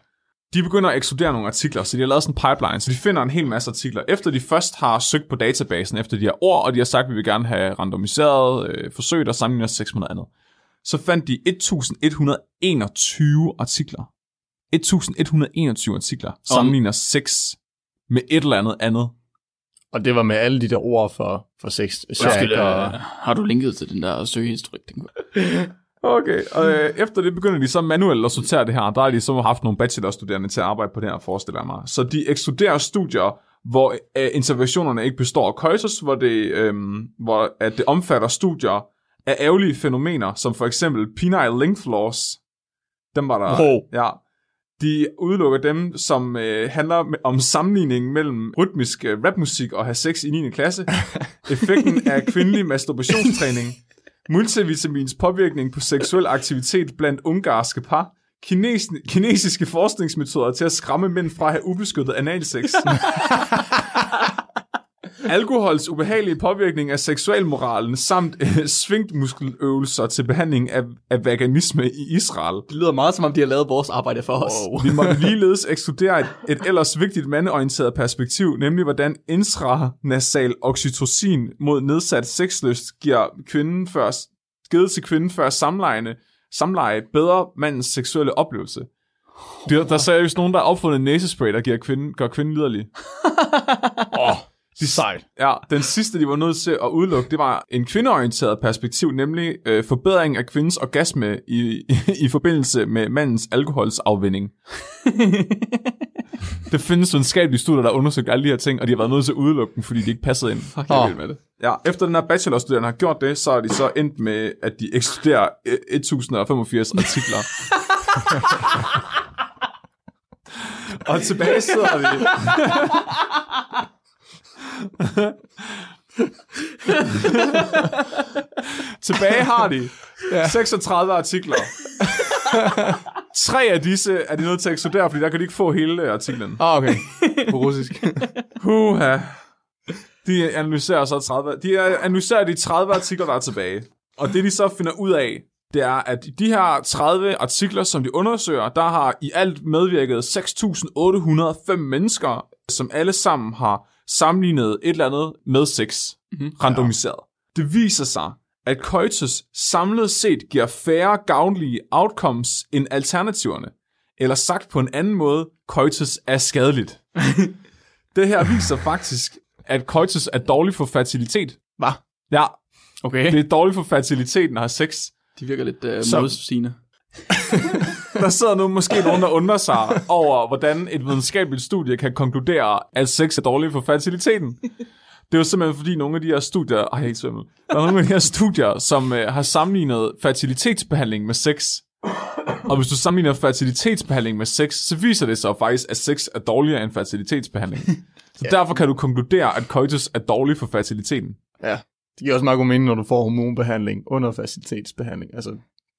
Speaker 3: De begynder at ekskludere nogle artikler, så de har lavet sådan en pipeline, så de finder en hel masse artikler. Efter de først har søgt på databasen efter de her ord, og de har sagt, at vi vil gerne have randomiseret øh, forsøg, der sammenligner sex med noget andet, så fandt de 1121 artikler. 1121 artikler sammenligner sex med et eller andet andet.
Speaker 4: Og det var med alle de der ord for, for sex. Shack, og,
Speaker 2: har du linket til den der søgehistorik? Den-
Speaker 3: Okay, og øh, efter det begynder de så manuelt at sortere det her. Der har de så haft nogle bachelorstuderende til at arbejde på det her, forestiller jeg mig. Så de ekskluderer studier, hvor øh, interventionerne ikke består af køjses, hvor, det, øh, hvor at det omfatter studier af ærgerlige fænomener, som for eksempel penile length loss. Dem var der...
Speaker 4: Wow.
Speaker 3: Ja. De udelukker dem, som øh, handler med- om sammenligningen mellem rytmisk øh, rapmusik og have sex i 9. klasse, effekten af kvindelig masturbationstræning, multivitamins påvirkning på seksuel aktivitet blandt ungarske par, kines, kinesiske forskningsmetoder til at skræmme mænd fra at have ubeskyttet analsex, alkohols ubehagelige påvirkning af seksualmoralen samt øh, svingtmuskeløvelser til behandling af, af veganisme i Israel.
Speaker 2: Det lyder meget, som om de har lavet vores arbejde for os.
Speaker 3: Vi må ligeledes ekskludere et, et ellers vigtigt mandeorienteret perspektiv, nemlig hvordan intranasal oxytocin mod nedsat sexlyst giver kvinden før, givet til kvinden før samleje, samleje bedre mandens seksuelle oplevelse. Der, der er seriøst nogen, der har opfundet næsespray, der giver kvinden, gør kvinden liderlig. oh, De, Sej. Ja, den sidste, de var nødt til at udelukke, det var en kvindeorienteret perspektiv, nemlig øh, forbedring af kvindens orgasme i, i forbindelse med mandens alkoholsafvinding. det findes videnskabelige studier, der har undersøgt alle de her ting, og de har været nødt til at udelukke dem, fordi de ikke passede ind.
Speaker 2: Fuck, jeg
Speaker 4: Åh.
Speaker 2: vil med det.
Speaker 3: Ja, efter den her bachelorstuderende har gjort det, så er de så endt med, at de ekskluderer øh, 1085 artikler. og tilbage sidder vi... tilbage har de 36 artikler. Tre af disse er de nødt til at ekskludere, fordi der kan de ikke få hele øh, artiklen.
Speaker 4: Ah, okay. På russisk.
Speaker 3: Puha. De analyserer så 30, de analyserer de 30 artikler, der er tilbage. Og det, de så finder ud af, det er, at i de her 30 artikler, som de undersøger, der har i alt medvirket 6.805 mennesker, som alle sammen har sammenlignet et eller andet med sex, mm-hmm. randomiseret. Ja. Det viser sig, at coitus samlet set giver færre gavnlige outcomes end alternativerne. Eller sagt på en anden måde, coitus er skadeligt. Det her viser faktisk, at coitus er dårlig for fertilitet.
Speaker 2: Hva?
Speaker 3: Ja,
Speaker 2: Okay.
Speaker 3: det er dårligt for fertiliteten at have sex.
Speaker 2: De virker lidt uh,
Speaker 3: Så-
Speaker 2: modsigende.
Speaker 3: Der sidder nu måske nogen, der undrer sig over, hvordan et videnskabeligt studie kan konkludere, at sex er dårligt for fertiliteten. Det er jo simpelthen fordi nogle af de her studier, ej, jeg er helt svimmel. der er nogle af de her studier, som øh, har sammenlignet fertilitetsbehandling med sex. Og hvis du sammenligner fertilitetsbehandling med sex, så viser det sig faktisk, at sex er dårligere end fertilitetsbehandling. Så derfor kan du konkludere, at coitus er dårlig for fertiliteten.
Speaker 4: Ja. Det giver også meget god mening, når du får hormonbehandling under facilitetsbehandling. Altså,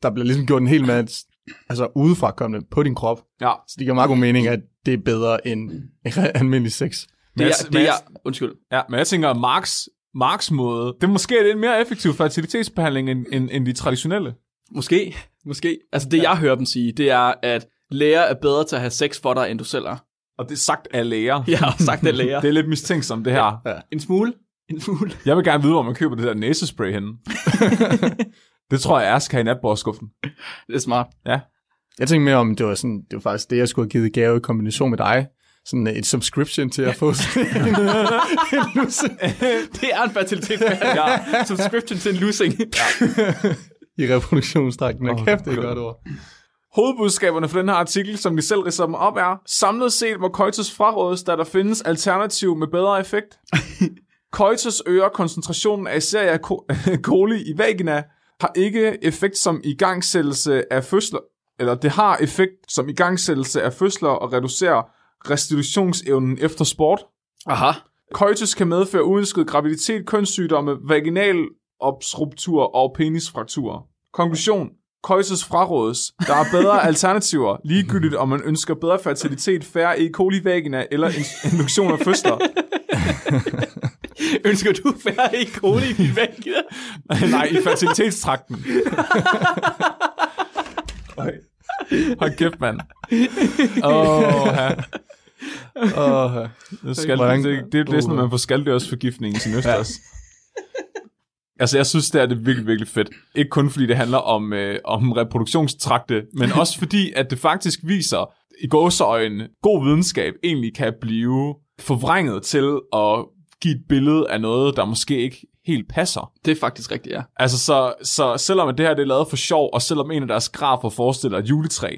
Speaker 4: der bliver ligesom gjort en hel masse altså, udefrakommende på din krop.
Speaker 3: Ja,
Speaker 4: Så det giver meget god mening, at det er bedre end re- almindelig sex.
Speaker 2: Det
Speaker 3: jeg-
Speaker 2: er,
Speaker 3: men
Speaker 2: det
Speaker 3: jeg-
Speaker 2: er, undskyld.
Speaker 3: Ja, men jeg tænker, at Marx, Marx måde, det er måske lidt mere effektiv fertilitetsbehandling end, end, end de traditionelle.
Speaker 2: Måske, måske. Altså det, ja. jeg hører dem sige, det er, at læger er bedre til at have sex for dig, end du selv er.
Speaker 3: Og det er sagt af læger.
Speaker 2: Jeg har sagt det, læger.
Speaker 3: Det er lidt mistænksomt, det her.
Speaker 2: En smule. En smule.
Speaker 3: Jeg vil gerne vide, hvor man køber det der næsespray henne. det tror jeg, jeg skal have i natbordskuffen.
Speaker 2: Det er smart.
Speaker 4: Jeg tænkte mere om, det var, sådan, det var faktisk det, jeg skulle have givet i gave i kombination med dig. Sådan et subscription til at få sådan en, en lusse
Speaker 2: Det er en fertilitetsbehandling. ja. Subscription til en losing. Ja.
Speaker 4: i reproduktionsdrakten. Oh, kæft, det er et godt ord.
Speaker 3: Hovedbudskaberne for den her artikel, som de selv ridser dem op, er Samlet set må coitus frarådes, da der findes alternativ med bedre effekt. coitus øger koncentrationen af især af ko- coli i vagina, har ikke effekt som igangsættelse af fødsler, eller det har effekt som igangsættelse af fødsler og reducerer restitutionsevnen efter sport.
Speaker 2: Aha.
Speaker 3: Coitus kan medføre uønsket graviditet, kønssygdomme, vaginal obstruktur og penisfrakturer. Konklusion. Coitus frarådes. Der er bedre alternativer, ligegyldigt om man ønsker bedre fertilitet, færre E. coli vagina eller in- induktion af fødsler.
Speaker 2: Ønsker du færre i kone i din væg?
Speaker 3: Nej, i fertilitetstrakten. Ej. Hold kæft, mand. Åh, ja.
Speaker 4: Oh, ja.
Speaker 3: Det, skal,
Speaker 4: Hvordan-
Speaker 3: Hvordan, det, det, det er sådan, at man får skalddørsforgiftning i sin østers. Altså, jeg synes, det er det virkelig, virkelig fedt. Ikke kun fordi det handler om, øh, om reproduktionstrakte, men også fordi, at det faktisk viser, i gåseøjne, god videnskab egentlig kan blive forvrænget til at give et billede af noget, der måske ikke helt passer.
Speaker 2: Det er faktisk rigtigt, ja.
Speaker 3: Altså, så, så selvom at det her det er lavet for sjov, og selvom en af deres grafer forestiller et juletræ,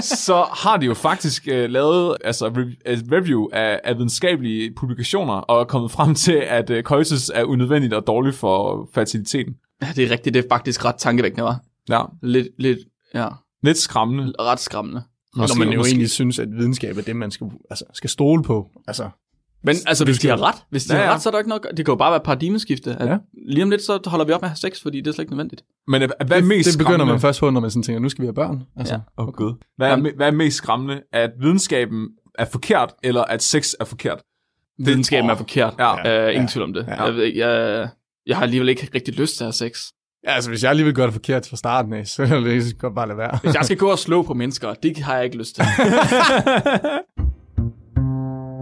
Speaker 3: så har de jo faktisk øh, lavet altså, re- et review af, af videnskabelige publikationer, og er kommet frem til, at øh, coitus er unødvendigt og dårligt for fertiliteten.
Speaker 2: Ja, det er rigtigt. Det er faktisk ret tankevækkende, var.
Speaker 3: Ja,
Speaker 2: Lidt, lidt, ja.
Speaker 3: lidt skræmmende.
Speaker 2: Ret skræmmende.
Speaker 4: Når
Speaker 3: Måske-
Speaker 4: man jo
Speaker 3: måske-
Speaker 4: egentlig synes, at videnskab er det, man skal, altså, skal stole på. Altså,
Speaker 2: Men altså, hvis de har ret, hvis de ja,
Speaker 3: Ja,
Speaker 2: har
Speaker 3: ja.
Speaker 2: ret, så er der ikke noget... at gøre. Det kan jo bare være et paradigmeskifte. At ja.
Speaker 4: Ja.
Speaker 2: Lige om lidt, så holder vi op med at have sex, fordi det er slet ikke nødvendigt.
Speaker 3: Men øh, hvad er mest
Speaker 4: det begynder
Speaker 3: skræmmende?
Speaker 4: man først på, når man sådan tænker, nu skal vi have børn. Altså,
Speaker 2: Ja.
Speaker 3: Åh, oh, gud. Hvad er, me- hvad er mest skræmmende? At videnskaben er forkert, eller at sex er forkert?
Speaker 2: Videnskaben er forkert.
Speaker 3: Ja.
Speaker 2: Uh, ingen tvivl om det.
Speaker 4: Ja.
Speaker 2: Jeg, ved ikke, jeg, jeg har alligevel ikke rigtig lyst til at have sex.
Speaker 4: ja. altså, hvis jeg alligevel gør det forkert fra starten af, så er det lige så godt bare lade være.
Speaker 2: Hvis jeg skal gå og slå på mennesker, det har jeg ikke lyst til.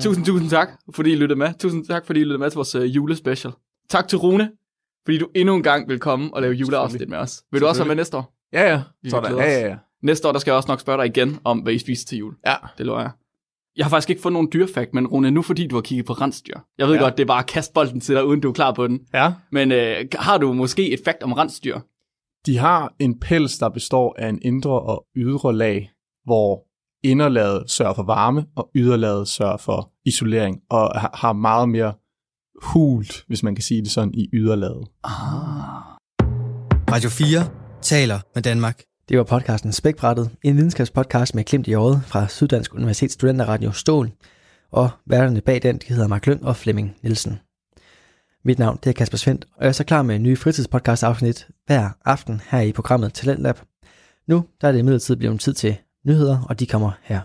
Speaker 2: tusind, tusind tak, fordi I lyttede med. Tusind tak, fordi I lyttede med til vores uh, julespecial. Tak til Rune, fordi du endnu en gang vil komme og lave juleafsnit med os. Vil du også have med næste år?
Speaker 4: Ja, ja.
Speaker 2: Vi
Speaker 4: Sådan.
Speaker 2: glæder
Speaker 4: Ja,
Speaker 2: os.
Speaker 4: ja, ja.
Speaker 2: Næste år, der skal jeg også nok spørge dig igen om, hvad I spiser til jul.
Speaker 4: Ja.
Speaker 2: Det lover jeg. Jeg har faktisk ikke fået nogen dyrfakt, men Rune, nu fordi du har kigget på rensdyr. Jeg ved ja.
Speaker 4: Ja.
Speaker 2: godt, det er bare at kaste bolden til dig, uden du er klar på den.
Speaker 4: Ja.
Speaker 2: Men øh, har du måske et fakt om rensdyr?
Speaker 4: De har en pels, der består af en indre og ydre lag, hvor inderlaget sørger for varme, og yderlaget sørger for isolering, og ha- har meget mere hult, hvis man kan sige det sådan, i yderlaget.
Speaker 1: Radio 4 taler med Danmark. Det var podcasten Spækbrættet, en videnskabspodcast med klemt i øjet fra Syddansk Universitets Studenterradio Stål, og værterne bag den de hedder Mark Løn og Flemming Nielsen. Mit navn det er Kasper Svendt, og jeg er så klar med nye fritidspodcast afsnit hver aften her i programmet Talentlab. Nu der er det imidlertid blevet tid til nyheder, og de kommer her.